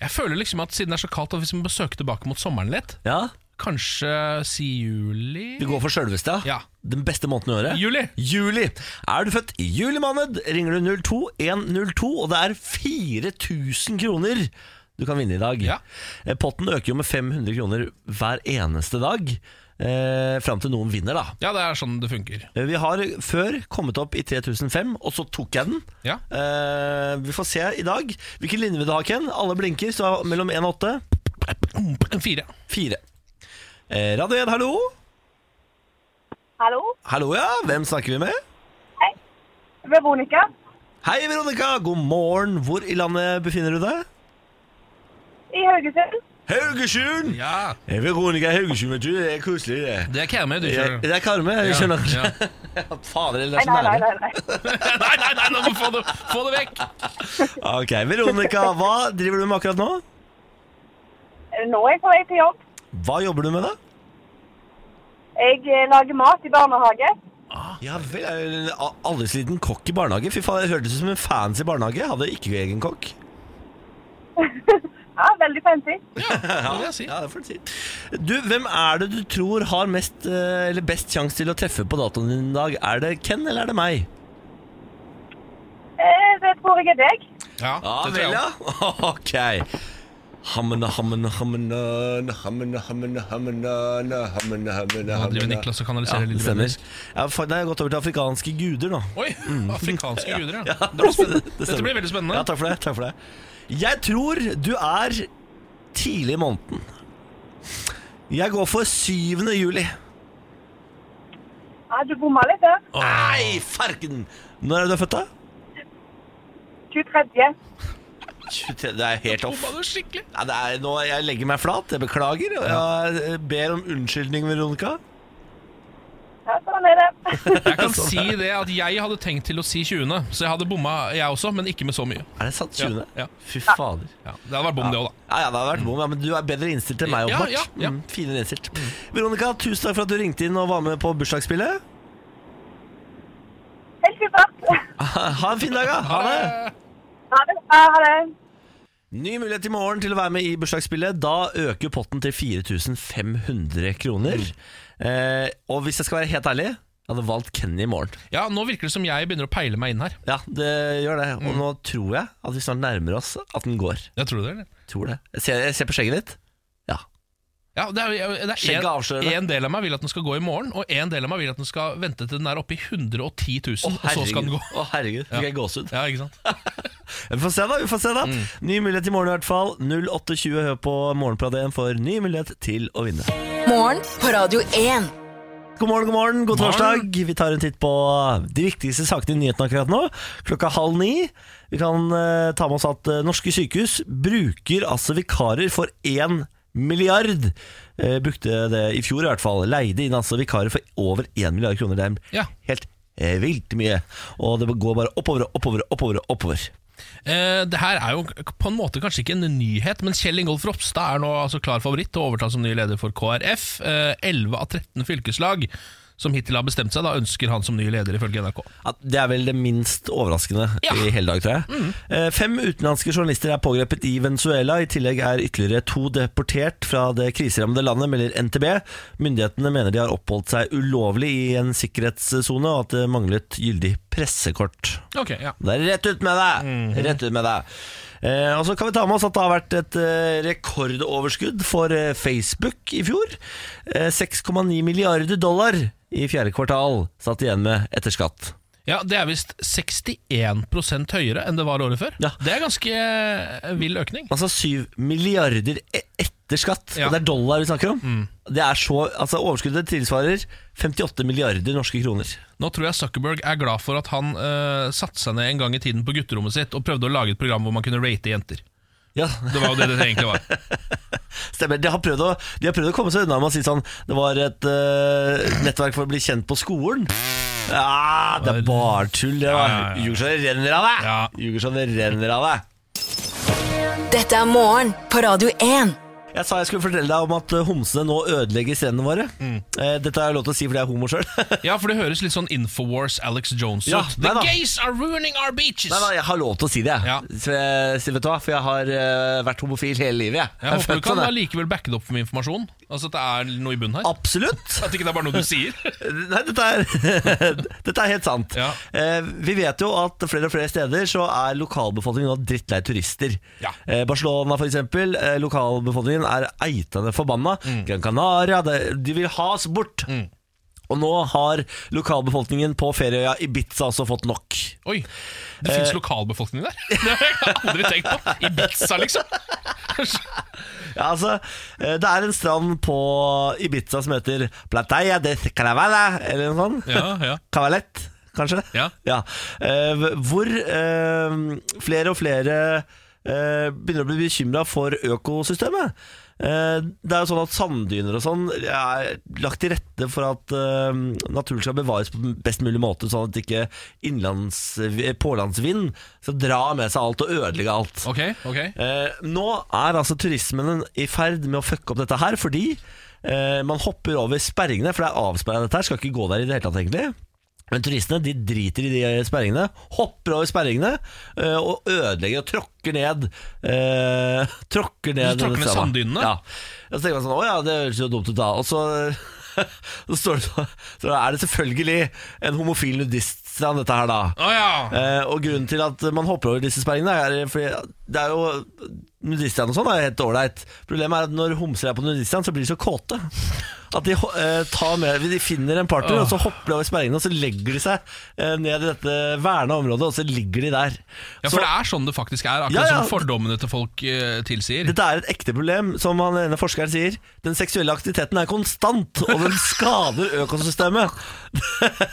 Speaker 2: Jeg føler liksom at siden det er så kaldt, at hvis vi må søke tilbake mot sommeren litt
Speaker 1: Ja,
Speaker 2: Kanskje si juli?
Speaker 1: Vi går for sjølveste.
Speaker 2: Ja.
Speaker 1: Den beste måneden i året.
Speaker 2: Juli.
Speaker 1: Juli. Er du født i juli måned, ringer du 02102, og det er 4000 kroner du kan vinne i dag.
Speaker 2: Ja.
Speaker 1: Eh, Potten øker jo med 500 kroner hver eneste dag, eh, fram til noen vinner, da.
Speaker 2: Ja, det er sånn det funker.
Speaker 1: Eh, Vi har før kommet opp i 3005, og så tok jeg den.
Speaker 2: Ja.
Speaker 1: Eh, vi får se i dag. Hvilken linje vil du ha, Ken? Alle blinker, så mellom 1 og 8.
Speaker 2: Fire.
Speaker 1: 4. Eh, Radio 1, hallo?
Speaker 5: Hallo,
Speaker 1: Hallo, ja. Hvem snakker vi med?
Speaker 5: Veronica
Speaker 1: Hei, Veronica. God morgen. Hvor i landet befinner du deg?
Speaker 5: i Haugesund.
Speaker 1: Haugesund!
Speaker 2: Ja,
Speaker 1: Hey, Veronica Haugesund, vet du. Det er koselig, det.
Speaker 2: det er Kermøy, du
Speaker 1: Jeg,
Speaker 2: kjører.
Speaker 1: det er Karme. Jeg
Speaker 2: Ja,
Speaker 1: skjønner
Speaker 2: ja.
Speaker 1: Fader, det
Speaker 5: Nei,
Speaker 1: er så
Speaker 5: nei, nei.
Speaker 1: nære.
Speaker 5: nei, nei.
Speaker 2: Nei, nei, nei, nå må du få det, få det vekk!
Speaker 1: Ok, Veronica, hva driver du med akkurat nå?
Speaker 5: Nå er jeg på vei til jobb.
Speaker 1: Hva jobber du med, da?
Speaker 5: Jeg eh, lager mat i barnehage.
Speaker 1: Ja vel, jeg er en a- aldersliten kokk i barnehage. Fy faen, jeg hørtes ut som en fancy barnehage. Jeg hadde ikke egen kokk.
Speaker 5: Ja, Veldig fancy.
Speaker 2: Ja, det vil jeg si.
Speaker 1: Ja, det får du si. Du, hvem er det du tror har mest, eh, eller best sjanse til å treffe på datoen din i dag? Er det Ken, eller er det meg?
Speaker 5: Eh, Det tror jeg er deg.
Speaker 2: Ja, det tror jeg også.
Speaker 1: Ok. Hammen, hammen, hammen, hammen, hammen, hammen, hammen, hammen, hammen,
Speaker 2: Nå driver
Speaker 1: hammen.
Speaker 2: Niklas og kanaliserer
Speaker 1: Ja, det
Speaker 2: lille
Speaker 1: stemmer.
Speaker 2: venner.
Speaker 1: Ja, for, nei, jeg har gått over til afrikanske guder nå.
Speaker 2: Oi, afrikanske guder, ja.
Speaker 1: det blir spennende.
Speaker 2: Dette blir veldig spennende.
Speaker 1: Ja, takk for det. Takk for det. Jeg tror du er tidlig i måneden. Jeg går for 7. juli.
Speaker 5: Ja, Du bomma litt der.
Speaker 1: Nei, farken! Når er det du er født, da?
Speaker 5: 23.
Speaker 1: 23. Det er helt off.
Speaker 2: Bomma du skikkelig?
Speaker 1: Ja, det er, nå, jeg legger meg flat, jeg beklager. og Jeg eh, ber om unnskyldning, Veronica.
Speaker 5: Ja, sånn er det.
Speaker 2: Jeg kan si det at jeg hadde tenkt til å si 20., så jeg hadde bomma jeg også, men ikke med så mye.
Speaker 1: Er det sant? 20.?
Speaker 2: Ja, ja.
Speaker 1: Fy fader.
Speaker 2: Ja, det hadde vært bom, det òg, da.
Speaker 1: Ja, ja, det hadde vært bom, ja, men du er bedre innstilt enn meg,
Speaker 2: Ja,
Speaker 1: åpenbart.
Speaker 2: ja, ja.
Speaker 1: Mm, finere innstilt. Veronica, tusen takk for at du ringte inn og var med på bursdagsspillet.
Speaker 5: Helt supert.
Speaker 1: Ha en fin dag, da. Ha det.
Speaker 5: Ha det. Ja, Ha det.
Speaker 1: Ny mulighet i morgen til å være med i bursdagsspillet. Da øker potten til 4500 kroner.
Speaker 2: Mm.
Speaker 1: Eh, og hvis jeg skal være helt ærlig, jeg hadde valgt Kenny i morgen.
Speaker 2: Ja, nå virker det som jeg begynner å peile meg inn her.
Speaker 1: Ja, det gjør det.
Speaker 2: Mm.
Speaker 1: Og nå tror jeg at vi snart nærmer oss at den går.
Speaker 2: Jeg tror det, eller?
Speaker 1: Tror det. Jeg ser, jeg ser på skjegget ditt. Ja.
Speaker 2: Ja, det er, jeg- det
Speaker 1: Skjegget avslører
Speaker 2: er en,
Speaker 1: det.
Speaker 2: en del av meg vil at den skal gå i morgen, og en del av meg vil at den skal vente til den er oppe i 110 000,
Speaker 1: Å,
Speaker 2: og så skal
Speaker 1: herregud.
Speaker 2: den gå.
Speaker 1: Å, herregud. Fikk jeg gåsehud.
Speaker 2: Ja, ikke sant?
Speaker 1: Vi får se, da. vi får se da
Speaker 2: Mm.
Speaker 1: Ny mulighet i morgen i hvert fall. 08.20 hør på Morgenpradet for ny mulighet til å vinne.
Speaker 4: Morgen på Radio 1.
Speaker 1: God morgen, god morgen, god
Speaker 2: Morgen.
Speaker 1: torsdag. Vi tar en titt på de viktigste sakene i nyhetene akkurat nå. Klokka halv ni. Vi kan eh, ta med oss at eh, norske sykehus bruker altså vikarer for én milliard. Eh, brukte det i fjor i hvert fall. Leide inn altså vikarer for over én milliard kroner. Det er
Speaker 2: Ja.
Speaker 1: helt eh, vilt mye. Og det går bare oppover og oppover og oppover. og oppover.
Speaker 2: Eh, det her er jo på en måte kanskje ikke en nyhet, men Kjell Ingolf Eh, Ropstad er nå altså klar favoritt til å overta som ny leder for KrF. Elleve av 13 fylkeslag som hittil har bestemt seg, da ønsker han som ny leder, ifølge NRK.
Speaker 1: Ja, det er vel det minst overraskende
Speaker 2: Ja.
Speaker 1: i hele dag, tror jeg. Eh, Fem utenlandske journalister er pågrepet i Venezuela. I tillegg er ytterligere to deportert fra det kriserammede landet, melder NTB. Myndighetene mener de har oppholdt seg ulovlig i en sikkerhetssone, og at det manglet gyldig pressekort.
Speaker 2: Ok, ja
Speaker 1: Det er rett ut med deg! Rett ut med deg. Eh, og så kan vi ta med oss at det har vært et eh, rekordoverskudd for eh, Facebook i fjor. Eh, 6,9 milliarder dollar i fjerde kvartal satt igjen med etter skatt.
Speaker 2: Ja, Det er visst 61 høyere enn det var året før.
Speaker 1: Ja.
Speaker 2: Det er ganske eh, vill økning.
Speaker 1: Altså 7 milliarder e- etter skatt,
Speaker 2: Ja. Mm.
Speaker 1: og det er dollar vi snakker om. Det er så, altså Overskuddet tilsvarer 58 milliarder norske kroner.
Speaker 2: Nå tror jeg Zuckerberg er glad for at han uh, satte seg ned en gang i tiden på gutterommet sitt og prøvde å lage et program hvor man kunne rate jenter.
Speaker 1: Ja,
Speaker 2: Det var jo det det egentlig var.
Speaker 1: stemmer. De har prøvd å, de har prøvd å komme seg unna med å si sånn Det var et eh, nettverk for å bli kjent på skolen. Ja, det er bare tull, det.
Speaker 2: Ja, ja,
Speaker 1: da.
Speaker 2: ja.
Speaker 1: Ljuger så det renner av deg!
Speaker 2: Ja.
Speaker 1: Ljuger så det renner av deg.
Speaker 4: Dette er morgen på Radio 1.
Speaker 1: Jeg sa jeg skulle fortelle deg om at eh, homsene nå ødelegger strendene våre.
Speaker 2: Mm.
Speaker 1: Eh, Dette har jeg lov til å si fordi jeg er homo sjøl.
Speaker 2: Ja, for det høres litt sånn Infowars Alex Jones ut.
Speaker 1: Ja, nei
Speaker 2: The
Speaker 1: da.
Speaker 2: gays are ruining our beaches!
Speaker 1: Nei, nei, jeg har lov til å si det, jeg.
Speaker 2: Ja.
Speaker 1: Så jeg, så vet du hva? For jeg har eh, vært homofil hele livet. Jeg,
Speaker 2: jeg
Speaker 1: er
Speaker 2: håper
Speaker 1: født
Speaker 2: du kan
Speaker 1: sånn, jeg.
Speaker 2: allikevel backe det opp med informasjon. Altså At det er noe i bunnen her.
Speaker 1: Absolutt!
Speaker 2: At ikke det er bare noe du sier.
Speaker 1: Nei, dette er, dette er helt sant.
Speaker 2: Ja.
Speaker 1: Eh, vi vet jo at flere og flere steder så er lokalbefolkningen nå drittlei turister.
Speaker 2: Ja.
Speaker 1: Eh, Barcelona for eksempel, eh, lokalbefolkningen er eitende forbanna.
Speaker 2: Mm.
Speaker 1: Gran Canaria, det, de vil ha oss bort. Og nå har lokalbefolkningen på ferieøya Ibiza også fått nok.
Speaker 2: Oi, det
Speaker 1: Eh.
Speaker 2: fins lokalbefolkning der! Det har jeg aldri tenkt på. Ibiza, liksom.
Speaker 1: Ja, altså, eh, det er en strand på Ibiza som heter Plataya de Caravana, eller noe sånt.
Speaker 2: Ja, ja.
Speaker 1: Kavalett, kanskje?
Speaker 2: Ja.
Speaker 1: Eh, hvor eh, flere og flere eh, begynner å bli bekymra for økosystemet. Eh, det er jo sånn at Sanddyner og sånn er lagt til rette for at eh, naturen skal bevares på best mulig måte, sånn at ikke innlands, eh, pålandsvind skal dra med seg alt og ødelegge alt.
Speaker 2: Ok, ok.
Speaker 1: Eh, nå er altså turismen i ferd med å fucke opp dette her, fordi eh, man hopper over sperringene, for det er avsperra dette her, skal ikke gå der i det hele tatt, egentlig. Men turistene de driter i de sperringene, hopper over sperringene eh, og ødelegger og tråkker ned eh, Tråkker ned denne
Speaker 2: Så tråkker ned
Speaker 1: stranda.
Speaker 2: sanddynene?
Speaker 1: Ja. Og så tenker man sånn Å ja, det høres jo dumt ut, da. Og så, så står det så, så er det selvfølgelig en homofil nudiststrand, dette her, da.
Speaker 2: Å ja!
Speaker 1: Eh, og grunnen til at man hopper over disse sperringene, er fordi det er jo Nudistene og sånn er helt ålreit. Problemet er at når homser er på nudistene, så blir de så kåte. At de, ho- eh, tar med, de finner en partner, og så hopper de over sperringene, og så legger de seg eh, ned i dette verna området, og så ligger de der.
Speaker 2: Ja, For
Speaker 1: så,
Speaker 2: det er sånn det faktisk er, akkurat
Speaker 1: Ja, ja.
Speaker 2: som fordommene til folk eh, tilsier.
Speaker 1: dette er et ekte problem, som han ene forskeren sier. Den seksuelle aktiviteten er konstant, og den skader økosystemet.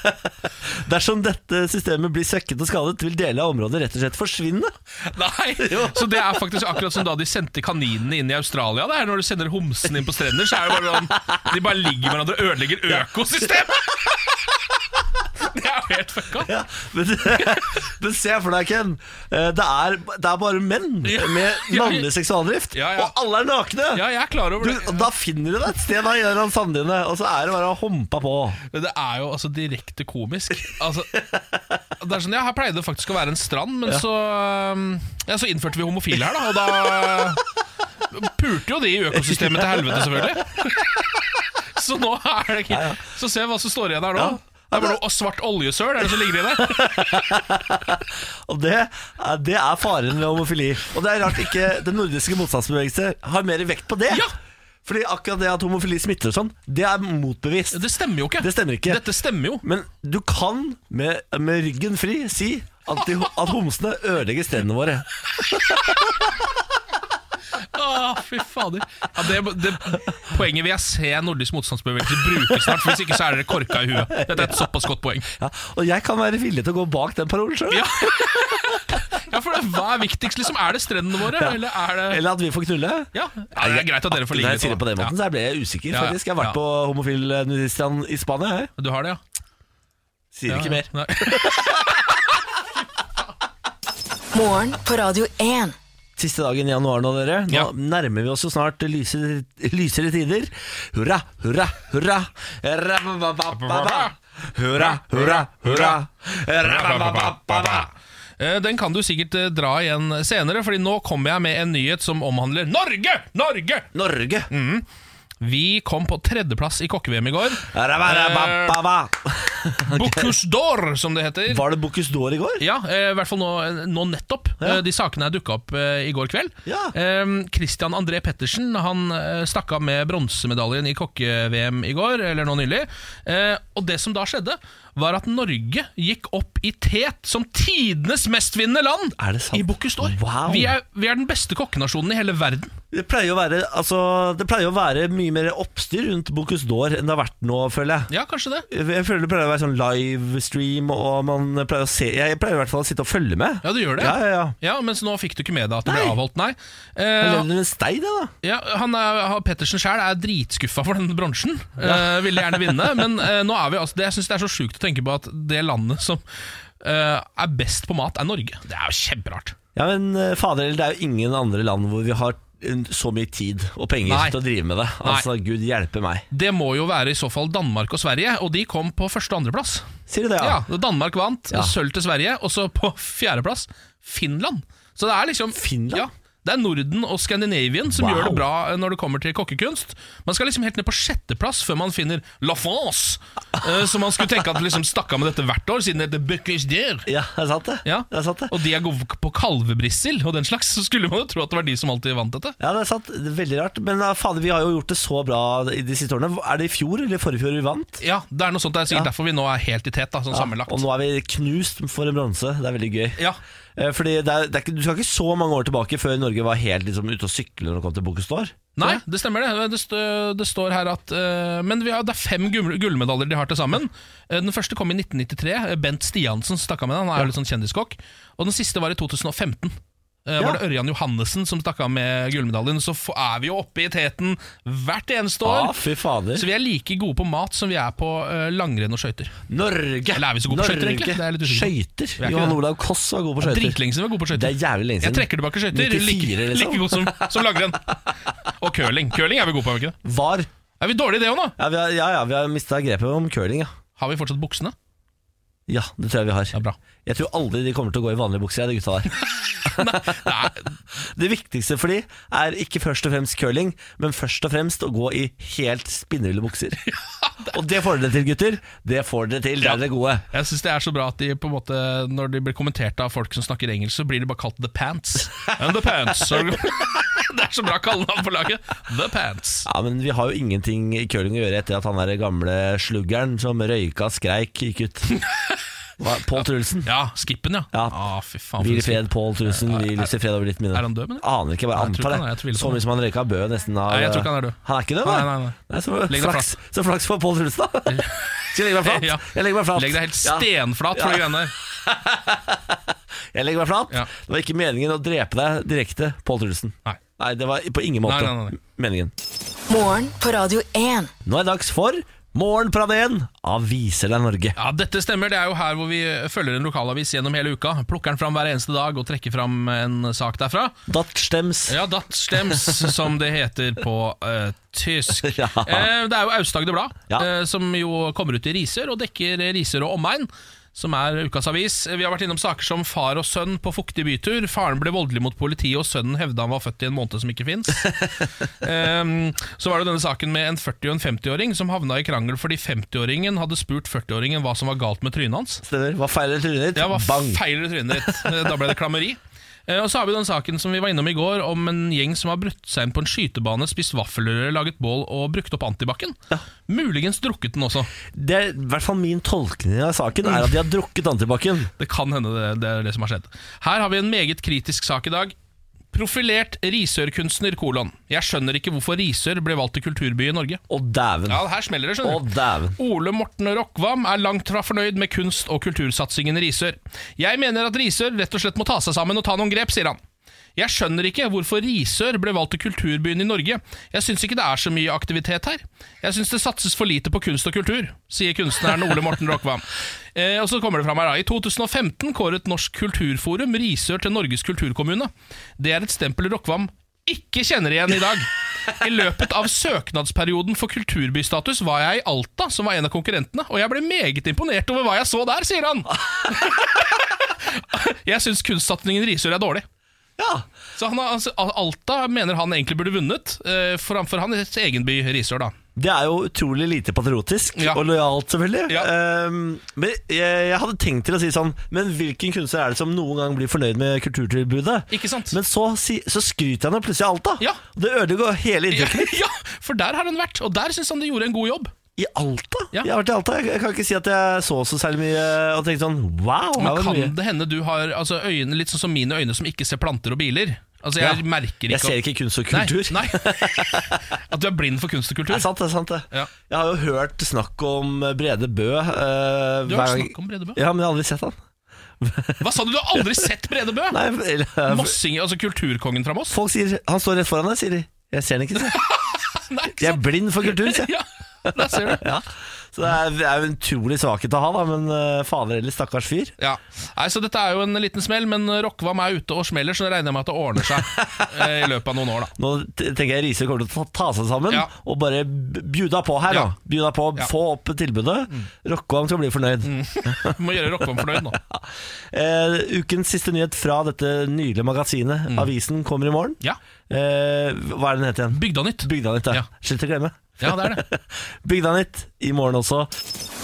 Speaker 1: Dersom dette systemet blir svekket og skadet, vil deler av området rett og slett forsvinne.
Speaker 2: Nei, Så det er faktisk akkurat som da de sendte kaninene inn i Australia. Det er Når du sender homsene inn på strender, så er det bare sånn De bare ligger med hverandre og ødelegger økosystemet! Det er jo helt fucka.
Speaker 1: Ja, men, men se for deg, Ken. eh, Det er, det er bare menn
Speaker 2: Ja.
Speaker 1: med mannlig seksualdrift,
Speaker 2: Ja, ja.
Speaker 1: og alle er nakne!
Speaker 2: Ja, jeg er klar
Speaker 1: Du,
Speaker 2: over
Speaker 1: og
Speaker 2: det.
Speaker 1: da finner du deg et sted da, i en av sanddyne, og så er det bare å humpe på.
Speaker 2: Men det er jo altså direkte komisk. Altså, det er sånn, ja, Her pleide det faktisk å være en strand, men så um, Ja, så innførte vi homofile her, da, og da pulte jo de i økosystemet til helvete, selvfølgelig. Så nå er det ikke Så se hva som står igjen her nå.
Speaker 1: Ja.
Speaker 2: Det er bare noe svart oljesøl er det som ligger i det.
Speaker 1: Og det, er- det er faren ved homofili. Og det er rart ikke den nordiske motstandsbevegelse har mer vekt på det.
Speaker 2: Ja.
Speaker 1: Fordi akkurat det at homofili smitter og sånn, det er motbevist.
Speaker 2: Det stemmer jo ikke.
Speaker 1: Det stemmer ikke.
Speaker 2: Dette stemmer jo.
Speaker 1: Men du kan med, med ryggen fri si at, de, at homsene ødelegger strendene våre.
Speaker 2: Å, fy fader. Ja, det, det, poenget vil jeg se nordisk motstandsbevegelse bruke snart, for hvis ikke så er dere korka i huet. Dette er et såpass godt poeng.
Speaker 1: Ja, og jeg kan være villig til å gå bak den parolen sjøl.
Speaker 2: Ja. ja, for det, hva er viktigst? liksom? Er det strendene våre,
Speaker 1: Ja.
Speaker 2: eller er det
Speaker 1: Eller at vi får knulle.
Speaker 2: ja. ja, Det er greit at dere får
Speaker 1: Når
Speaker 2: ligge
Speaker 1: jeg sier det på den måten,
Speaker 2: da.
Speaker 1: så ble jeg usikker,
Speaker 2: Ja, ja.
Speaker 1: faktisk. Jeg har vært
Speaker 2: Ja.
Speaker 1: på homofil nudiststrand i Spania, jeg.
Speaker 2: Ja. Du har det, ja?
Speaker 1: Sier
Speaker 2: ja
Speaker 1: ikke mer.
Speaker 2: Nei.
Speaker 4: Morgen på Radio 1.
Speaker 1: Siste dagen i januar nå, dere. Nå
Speaker 2: Ja.
Speaker 1: nærmer vi oss jo snart lysere, lysere tider. Hurra, hurra, hurra. Rababababa. Hurra, hurra, hurra. Rababababa.
Speaker 2: Eh, Den kan du sikkert eh, dra igjen senere, Fordi nå kommer jeg med en nyhet som omhandler Norge! Norge!
Speaker 1: Norge.
Speaker 2: Vi kom på tredjeplass i kokke-VM i går.
Speaker 1: Rababababa.
Speaker 2: Bocuse d'Or, som det heter.
Speaker 1: Var det Bocuse d'Or i går?
Speaker 2: Ja, eh, i hvert fall nå, nå nettopp.
Speaker 1: Ja.
Speaker 2: Eh, De sakene her dukka opp eh, i går kveld.
Speaker 1: Ja.
Speaker 2: Eh, Christian André Pettersen han eh, stakk av med bronsemedaljen i kokke-VM i går, eller nå nylig. Eh, Og det som da skjedde, var at Norge gikk opp i tet som tidenes mestvinnende land
Speaker 1: Er det sant?
Speaker 2: i Bocuse d'Or.
Speaker 1: Wow.
Speaker 2: Vi, er- vi er den beste kokkenasjonen i hele verden.
Speaker 1: Det pleier, å være, altså, det pleier å være mye mer oppstyr rundt Bocuse d'Or enn det har vært nå, føler jeg.
Speaker 2: Ja, kanskje det.
Speaker 1: Jeg føler det pleier å være sånn livestream, og man pleier å se Jeg pleier i hvert fall å sitte og følge med.
Speaker 2: Ja, du gjør det.
Speaker 1: Ja, ja, ja.
Speaker 2: Ja, Mens nå fikk du ikke med deg at det
Speaker 1: Nei.
Speaker 2: ble avholdt, nei.
Speaker 1: Jeg
Speaker 2: Eh,
Speaker 1: leder en stei, det, da.
Speaker 2: Ja, han er, han- Pettersen sjøl er dritskuffa for den bronsen. Eh, ville gjerne vinne, men eh, nå er vi altså, det, jeg synes det er så sjukt å tenke på at det landet som eh, er best på mat, er Norge. Det er jo kjemperart.
Speaker 1: Ja, men eh, fader, det er jo ingen andre land hvor vi har eh, så mye tid og penger
Speaker 2: Nei.
Speaker 1: til å drive med det. Altså, Gud hjelpe meg.
Speaker 2: Det må jo være i så fall Danmark og Sverige, og de kom på første- og andreplass.
Speaker 1: Sier du det,
Speaker 2: Ja.
Speaker 1: ja?
Speaker 2: Danmark vant,
Speaker 1: Ja.
Speaker 2: sølv til Sverige, og så på fjerdeplass Finland. Så det er liksom
Speaker 1: Finland?
Speaker 2: Ja, det er Norden og Skandinavien som
Speaker 1: Wow.
Speaker 2: gjør det bra eh, når det kommer til kokkekunst. Man skal liksom helt ned på sjetteplass før man finner La France, eh, som man skulle tenke at liksom stakk av med dette hvert år, siden det heter Bocuse d'Or.
Speaker 1: Ja, det er sant, det.
Speaker 2: Ja.
Speaker 1: Det er sant, det.
Speaker 2: Og de er gode på kalvebrissel og den slags, så skulle man jo tro at det var de som alltid vant dette.
Speaker 1: Ja, det er sant. Det er Veldig rart. Men ja, fader, vi har jo gjort det så bra i de siste årene. Er det i fjor eller forrige fjor vi vant?
Speaker 2: Ja, det er noe sånt, det er sikkert derfor vi nå er helt i tet, da, sånn
Speaker 1: Ja,
Speaker 2: sammenlagt.
Speaker 1: Og nå er vi knust for en bronse. Det er veldig gøy.
Speaker 2: Ja.
Speaker 1: Eh, Fordi det er, det er, ikke- Du skal ikke så mange år tilbake før Norge var helt liksom, ute og sykle når det kom til Bocuse d'Or.
Speaker 2: Nei, det stemmer det. Det, stø, det står her at eh, Men vi har, det er fem gull- gullmedaljer de har til sammen. Eh, den første kom i 1993. eh, Bent Stiansen stakk av med den. Han er jo litt sånn kjendiskokk. Og den siste var i 2015. Eh,
Speaker 1: Ja.
Speaker 2: Var det Ørjan Johannessen som stakk av med gullmedaljen? Så f- er vi jo oppe i teten hvert eneste
Speaker 1: Ja,
Speaker 2: år.
Speaker 1: fy fader.
Speaker 2: Så vi er like gode på mat som vi er på eh, langrenn og skøyter.
Speaker 1: Norge!
Speaker 2: Eller er vi så gode på skøyter, egentlig? Det er jeg litt usikker på.
Speaker 1: Skøyter?
Speaker 2: er ikke
Speaker 1: Johan
Speaker 2: det.
Speaker 1: Olav Koss var god på skøyter.
Speaker 2: Dritlenge siden vi er gode på
Speaker 1: Det er
Speaker 2: skøyter.
Speaker 1: jævlig lenge
Speaker 2: Jeg
Speaker 1: siden.
Speaker 2: trekker tilbake skøyter.
Speaker 1: 94,
Speaker 2: like,
Speaker 1: liksom.
Speaker 2: like god som, som langrenn. Og curling. Curling er vi gode på, er vi ikke det?
Speaker 1: Var.
Speaker 2: Er vi dårlige i det òg nå?
Speaker 1: Ja, vi har, ja, ja, vi har mista grepet om curling, ja.
Speaker 2: Har vi fortsatt buksene?
Speaker 1: Ja, det tror jeg vi har.
Speaker 2: Det er bra.
Speaker 1: Jeg tror aldri de kommer til å gå i vanlige bukser, ja, de gutta der.
Speaker 2: Nei,
Speaker 1: Det viktigste for de er ikke først og fremst curling, men først og fremst å gå i helt spinnville bukser. Og det får dere til, gutter. Det får dere til. Der er dere gode.
Speaker 2: Jeg synes det er så bra at de på en måte Når de blir kommentert av folk som snakker engelsk, så blir de bare kalt The Pants. And The Pants Så- Det er så bra kallenavn på laget. The Pants.
Speaker 1: Ja, men vi har jo ingenting i curling å gjøre etter at han der gamle sluggeren som røyka skreik, gikk ut. Hva, Pål Trulsen.
Speaker 2: Ja, Skippen, ja.
Speaker 1: Ja.
Speaker 2: Ah, fy faen. for
Speaker 1: Hvil i
Speaker 2: en skip.
Speaker 1: fred, Pål Tusen. Hvil i fred over ditt minne.
Speaker 2: er han død, mener du?
Speaker 1: Aner ikke, bare
Speaker 2: Nei, jeg tror
Speaker 1: antar
Speaker 2: ikke han er, jeg
Speaker 1: det.
Speaker 2: tviler på
Speaker 1: Så mye
Speaker 2: det.
Speaker 1: som han røyka, bød nesten av
Speaker 2: Nei, jeg tror ikke han er død.
Speaker 1: Han er ikke død,
Speaker 2: Nei, nei, nei.
Speaker 1: så
Speaker 2: Legg deg
Speaker 1: flaks, så flaks for Pål Tusen, da. Skal jeg legge meg flat?
Speaker 2: Ja.
Speaker 1: Jeg legger meg flat.
Speaker 2: Legg deg helt
Speaker 1: Ja.
Speaker 2: stenflat for de greiene der.
Speaker 1: Jeg legger meg flat.
Speaker 2: Ja.
Speaker 1: Det var ikke meningen å drepe deg direkte, Pål Trulsen.
Speaker 2: Nei.
Speaker 1: Nei, det var på ingen måte
Speaker 2: Nei, nei, nei.
Speaker 1: meningen.
Speaker 4: Morgen på Radio 1.
Speaker 1: Nå er det dags for Morgenplaneen Aviser deg Norge.
Speaker 2: Ja, dette stemmer. Det er jo her hvor vi følger en lokalavis gjennom hele uka. Plukker den fram hver eneste dag og trekker fram en sak derfra.
Speaker 1: Datstems.
Speaker 2: Ja, Dattstems, som det heter på eh, tysk.
Speaker 1: Ja.
Speaker 2: Eh, det er jo Aust-Agder Blad,
Speaker 1: Ja.
Speaker 2: eh, som jo kommer ut i Risør og dekker eh, Risør og omegn. Som er ukas avis. Vi har vært innom saker som far og sønn på fuktig bytur. Faren ble voldelig mot politiet, og sønnen hevda han var født i en måned som ikke fins. Ehm, så var det denne saken med en 40- og en 50-åring som havna i krangel fordi 50-åringen hadde spurt 40-åringen hva som var galt med trynet hans.
Speaker 1: Stemmer. Hva feiler trynet ditt?
Speaker 2: Ja, hva
Speaker 1: Bang.
Speaker 2: feiler i trynet ditt? Eh, Da ble det klammeri. Eh, Og så har vi den saken som vi var innom i går, om en gjeng som har brutt seg inn på en skytebane, spist vaffelrøre, laget bål og brukt opp antibac-en. Muligens drukket den også.
Speaker 1: Det er i hvert fall min tolkning av saken, er at de har drukket antibac-en.
Speaker 2: Det kan hende det, det er det som har skjedd. Her har vi en meget kritisk sak i dag. Profilert risørkunstner, kolon. Jeg skjønner ikke hvorfor Risør ble valgt til kulturby i Norge.
Speaker 1: Å, dæven.
Speaker 2: Ja, her smeller det,
Speaker 1: Å,
Speaker 2: skjønner du.
Speaker 1: dæven.
Speaker 2: Ole Morten Rockvam er langt fra fornøyd med kunst- og kultursatsingen i Risør. Jeg mener at Risør rett og slett må ta seg sammen og ta noen grep, sier han. Jeg skjønner ikke hvorfor Risør ble valgt til kulturbyen i Norge. Jeg syns ikke det er så mye aktivitet her. Jeg syns det satses for lite på kunst og kultur, sier kunstneren Ole Morten Rockvam. Eh, og så kommer det fram her da. I 2015 kåret Norsk Kulturforum Risør til Norges kulturkommune. Det er et stempel Rockvam ikke kjenner igjen i dag. I løpet av søknadsperioden for kulturbystatus var jeg i Alta, som var en av konkurrentene, og jeg ble meget imponert over hva jeg så der, sier han. Jeg syns kunstsatsingen Risør er dårlig.
Speaker 1: Ja,
Speaker 2: Så han har, altså, Alta mener han egentlig burde vunnet, eh, framfor hans egen by Risør, da.
Speaker 1: Det er jo utrolig lite patriotisk,
Speaker 2: Ja.
Speaker 1: og lojalt selvfølgelig.
Speaker 2: Ja.
Speaker 1: Ehm, men jeg, jeg hadde tenkt til å si sånn Men hvilken kunstner er det som noen gang blir fornøyd med kulturtilbudet?
Speaker 2: Ikke sant?
Speaker 1: Men så, si, så skryter han jo plutselig av Alta.
Speaker 2: Ja.
Speaker 1: Og Det ødelegger jo hele
Speaker 2: ja,
Speaker 1: inntrykket mitt.
Speaker 2: ja, for der har han vært, og der syns han de gjorde en god jobb.
Speaker 1: I Alta?
Speaker 2: Ja.
Speaker 1: Jeg har vært i Alta. Jeg, jeg kan ikke si at jeg så så særlig mye og tenkte sånn wow. her var
Speaker 2: Men
Speaker 1: det
Speaker 2: kan
Speaker 1: mye.
Speaker 2: det hende du har altså, øyne litt sånn som mine øyne, som ikke ser planter og biler? Altså, jeg
Speaker 1: Ja.
Speaker 2: merker ikke
Speaker 1: Jeg ser ikke kunst og kultur.
Speaker 2: Nei, nei. At du er blind for kunst og kultur.
Speaker 1: Det er sant, det. er sant det
Speaker 2: Ja.
Speaker 1: Jeg har jo hørt snakk om Brede Bø. eh,
Speaker 2: Du
Speaker 1: hver
Speaker 2: har
Speaker 1: gang-
Speaker 2: snakket om Brede Bø.
Speaker 1: Ja, men jeg har aldri sett han.
Speaker 2: Hva sa du? Du har aldri sett Brede Bø?
Speaker 1: Nei, eller, eh,
Speaker 2: Mossing, altså kulturkongen fra Moss?
Speaker 1: Folk sier Han står rett foran deg, sier de. Jeg ser den ikke, sier jeg.
Speaker 2: Nei, ikke
Speaker 1: Jeg er blind for kultur, sier jeg.
Speaker 2: Ja, der ser du.
Speaker 1: Ja. Så det er, det er jo en utrolig svakhet å ha, da, men eh, fader heller, stakkars fyr.
Speaker 2: Ja. Nei, så Dette er jo en liten smell, men Rockvam er ute og smeller, så det regner jeg med at det ordner seg eh, i løpet av noen år. da
Speaker 1: Nå t- tenker jeg Riise kommer til å ta, ta seg sammen
Speaker 2: Ja.
Speaker 1: og bare b- bjuda på her.
Speaker 2: Ja.
Speaker 1: da Bjuda på,
Speaker 2: Ja. Mm.
Speaker 1: Få opp tilbudet. Rockholm skal bli fornøyd.
Speaker 2: Vi Må gjøre Rockvam fornøyd nå.
Speaker 1: Eh, ukens siste nyhet fra dette nydelige magasinet. Avisen kommer i morgen.
Speaker 2: Mm. Ja,
Speaker 1: Eh, hva er den het igjen?
Speaker 2: Bygdanytt.
Speaker 1: Bygdanytt.
Speaker 2: Ja.
Speaker 1: Ja. Slutt å glemme.
Speaker 2: Ja, det er det.
Speaker 1: Bygdanytt i morgen også.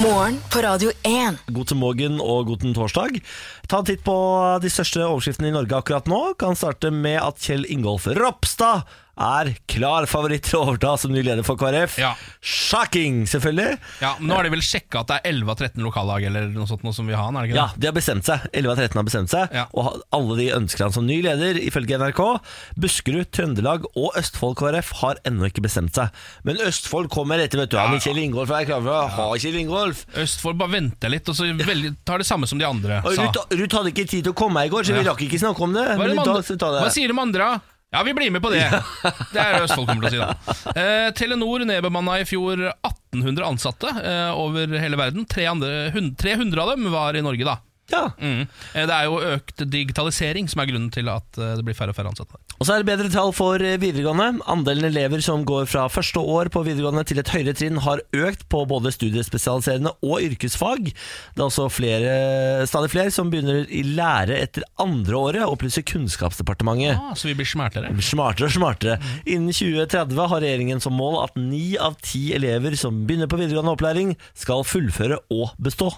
Speaker 4: Morgen på Radio 1.
Speaker 1: Guten morgen og guten torsdag. Ta en titt på de største overskriftene i Norge akkurat nå. Kan starte med at Kjell Ingolf Ropstad er klar favoritt til å overta som ny leder for KrF.
Speaker 2: Ja.
Speaker 1: Shocking, selvfølgelig.
Speaker 2: Ja, men Nå har de vel sjekka at det er 11 av 13 lokallag eller noe sånt nå som vi har han, er det ikke
Speaker 1: Ja,
Speaker 2: det?
Speaker 1: de har bestemt seg. 11 av 13 har bestemt seg,
Speaker 2: Ja.
Speaker 1: og ha- alle de ønsker han som ny leder, ifølge NRK. Buskerud, Trøndelag og Østfold KrF har ennå ikke bestemt seg. Men Østfold kommer etter, vet du. Han
Speaker 2: Ja.
Speaker 1: Kjell Ingolf er klar for å ha Kjell Ingolf.
Speaker 2: Østfold bare venter litt, og så velger, tar det samme som de andre
Speaker 1: Og
Speaker 2: sa.
Speaker 1: Ruth, Ruth hadde ikke tid til å komme i går, så vi
Speaker 2: Ja.
Speaker 1: rakk ikke snakke om det.
Speaker 2: Hva, er
Speaker 1: Men i
Speaker 2: det de
Speaker 1: dag
Speaker 2: andre,
Speaker 1: skal vi ta det.
Speaker 2: hva sier de andre? Ja, vi blir med på det. Det er det Østfold kommer til å si, da. Eh, Telenor nedbemanna i fjor 1800 ansatte eh, over hele verden. 300, hun- 300 av dem var i Norge, da.
Speaker 1: Ja.
Speaker 2: Mm. Eh, det er jo økt digitalisering som er grunnen til at eh, det blir færre og færre ansatte.
Speaker 1: Og så er det bedre tall for eh, videregående. Andelen elever som går fra første år på videregående til et høyere trinn har økt på både studiespesialiserende og yrkesfag. Det er også flere, stadig flere som begynner i lære etter andre året, opplyser Kunnskapsdepartementet.
Speaker 2: Ah, så vi blir smertere.
Speaker 1: Smartere og smartere. Innen 2030 har regjeringen som mål at ni av ti elever som begynner på videregående opplæring, skal fullføre og bestå.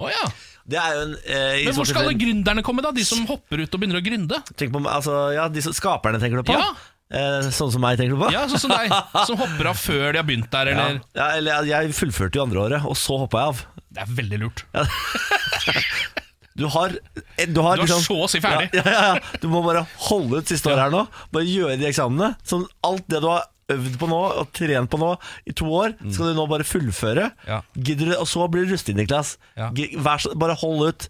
Speaker 2: Å ja.
Speaker 1: Det er jo en eh, i
Speaker 2: Men
Speaker 1: så
Speaker 2: hvor skal alle
Speaker 1: tilfelle-
Speaker 2: gründerne komme, da? De som hopper ut og begynner å gründe?
Speaker 1: Tenk på, altså, ja, de som- skaperne tenker du på?
Speaker 2: Ja.
Speaker 1: Eh, sånn som meg tenker du på?
Speaker 2: Ja, sånn som deg, som hopper av før de har begynt der,
Speaker 1: Ja,
Speaker 2: eller
Speaker 1: ja, eller jeg- jeg fullførte jo andre året, og så hoppa jeg av.
Speaker 2: Det er veldig lurt.
Speaker 1: Du har, eh, du har,
Speaker 2: Du er
Speaker 1: liksom-
Speaker 2: så å si ferdig.
Speaker 1: Ja, ja, ja. Du må bare holde ut siste året her nå. Bare gjøre de eksamene. Sånn alt det du har øvd på nå og trent på nå i to år, skal du nå bare fullføre.
Speaker 2: Mm. Ja.
Speaker 1: Gidder du, og så blir du rustet, Niklas.
Speaker 2: Ja.
Speaker 1: Gi- Vær så, bare hold ut.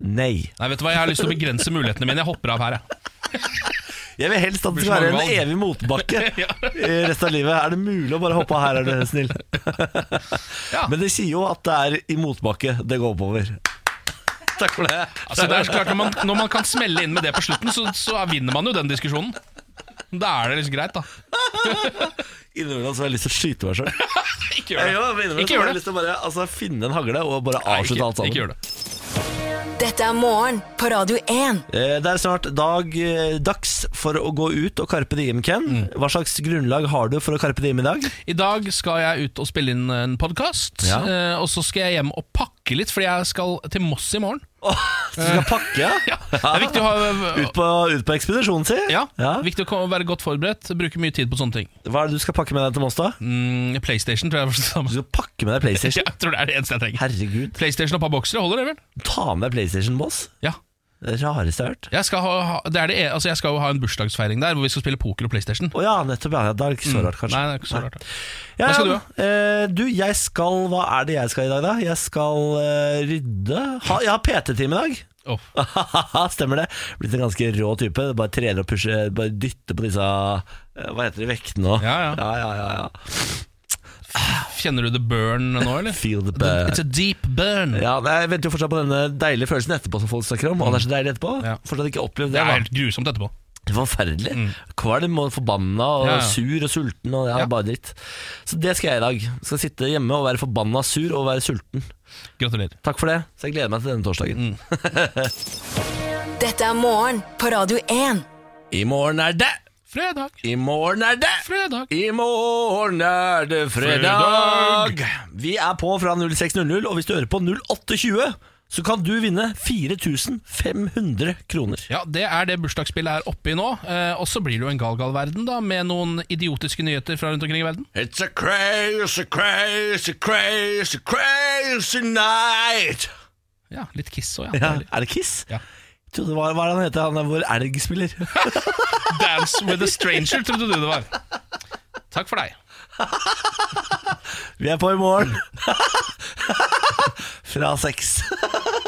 Speaker 1: Nei.
Speaker 2: Nei, vet du hva, Jeg har lyst til å begrense mulighetene mine. Jeg hopper av her, jeg.
Speaker 1: Jeg vil helst at det
Speaker 2: Blir
Speaker 1: skal
Speaker 2: så
Speaker 1: være en
Speaker 2: mange valg.
Speaker 1: evig motbakke
Speaker 2: Ja.
Speaker 1: i resten av livet. Er det mulig å bare hoppe av her, er du snill?
Speaker 2: Ja.
Speaker 1: Men de sier jo at det er i motbakke det går oppover. Takk for det.
Speaker 2: Altså, det er så klart, når man, når man kan smelle inn med det på slutten, så, så vinner man jo den diskusjonen. Da er det liksom greit, da.
Speaker 1: Innimellom så har jeg lyst til å skyte meg sjøl.
Speaker 2: Ikke gjør det. Ikke
Speaker 1: Ikke
Speaker 2: gjør
Speaker 1: Jeg
Speaker 2: det.
Speaker 1: lyst til å bare altså, finne en hagle og bare
Speaker 2: Nei,
Speaker 1: avslutte
Speaker 2: ikke,
Speaker 1: alt sammen.
Speaker 2: ikke gjør det.
Speaker 4: Dette er morgen på Radio 1.
Speaker 1: Eh, Det er snart dag, eh, dags for å gå ut og karpe diem, Ken.
Speaker 2: Mm.
Speaker 1: Hva slags grunnlag har du for å karpe diem i dag?
Speaker 2: I dag skal jeg ut og spille inn en podkast,
Speaker 1: Ja.
Speaker 2: eh, og så skal jeg hjem og pakke litt, fordi jeg skal til Moss i morgen.
Speaker 1: Åh, du skal pakke?
Speaker 2: Ja, det er viktig å ha
Speaker 1: Ut på, ut på ekspedisjon, si.
Speaker 2: ja, viktig å komme- være godt forberedt, bruke mye tid på sånne ting.
Speaker 1: Hva er det du skal pakke med deg til Moss, da?
Speaker 2: Mm, PlayStation tror jeg var det
Speaker 1: Du
Speaker 2: samme.
Speaker 1: skal pakke med deg
Speaker 2: Ja,
Speaker 1: PlayStation?
Speaker 2: Jeg tror det er det eneste jeg trenger.
Speaker 1: Herregud.
Speaker 2: PlayStation og et par boksere holder det, vel?
Speaker 1: Ta med deg PlayStation, Moss.
Speaker 2: Ja.
Speaker 1: Det rareste jeg har hørt.
Speaker 2: Jeg skal, ha, ha- det er det, e- altså jeg skal jo ha en bursdagsfeiring der hvor vi skal spille poker og PlayStation.
Speaker 1: Å ja, nettopp. Ja. Da er det ikke så rart, kanskje.
Speaker 2: Mm. Nei, det er ikke så rart.
Speaker 1: Ja,
Speaker 2: Hva skal du ha?
Speaker 1: eh, du, jeg skal Hva er det jeg skal i dag, da? Jeg skal eh, rydde ha, Jeg har PT-time i dag.
Speaker 2: Åh.
Speaker 1: Stemmer det. Blitt en ganske rå type. Bare trener og pusher, bare dytter på disse eh, Hva heter de, vektene og
Speaker 2: Ja, ja.
Speaker 1: ja, ja, ja, ja.
Speaker 2: Kjenner du the burn nå, eller?
Speaker 1: Feel the
Speaker 2: The-
Speaker 1: burn.
Speaker 2: It's a deep burn.
Speaker 1: Ja, nei, Jeg venter jo fortsatt på denne deilige følelsen etterpå som folk snakker om. Og det er så deilig etterpå.
Speaker 2: Ja.
Speaker 1: Fortsatt ikke opplevd
Speaker 2: Det
Speaker 1: det.
Speaker 2: er
Speaker 1: da.
Speaker 2: helt grusomt etterpå.
Speaker 1: Det er Forferdelig. Kvalm og forbanna og
Speaker 2: Ja, ja.
Speaker 1: sur og sulten og ja,
Speaker 2: Ja.
Speaker 1: bare dritt. Så det skal jeg i dag. Skal sitte hjemme og være forbanna sur og være sulten.
Speaker 2: Gratulerer.
Speaker 1: Takk for det. Så jeg gleder meg til denne torsdagen.
Speaker 4: Dette er morgen på Radio 1.
Speaker 1: I morgen er det!
Speaker 2: Fredag,
Speaker 1: I morgen er det!
Speaker 2: fredag.
Speaker 1: I morgen er det fredag! Vi er på fra 06.00, og hvis du hører på 08.20, så kan du vinne 4500 kroner.
Speaker 2: Ja, Det er det bursdagsspillet er oppe i nå. Eh, og så blir det jo en gal-gal verden, da, med noen idiotiske nyheter fra rundt omkring i verden.
Speaker 1: It's a crazy, crazy, crazy, crazy night!
Speaker 2: Ja, Litt Kiss òg, ja.
Speaker 1: Ja, er det Kiss?
Speaker 2: Ja.
Speaker 1: Jeg trodde det var, hva er det han heter, han er vår elgspiller?
Speaker 2: Dance with a stranger, trodde du det var. Takk for deg.
Speaker 1: Vi er på i morgen. Fra seks.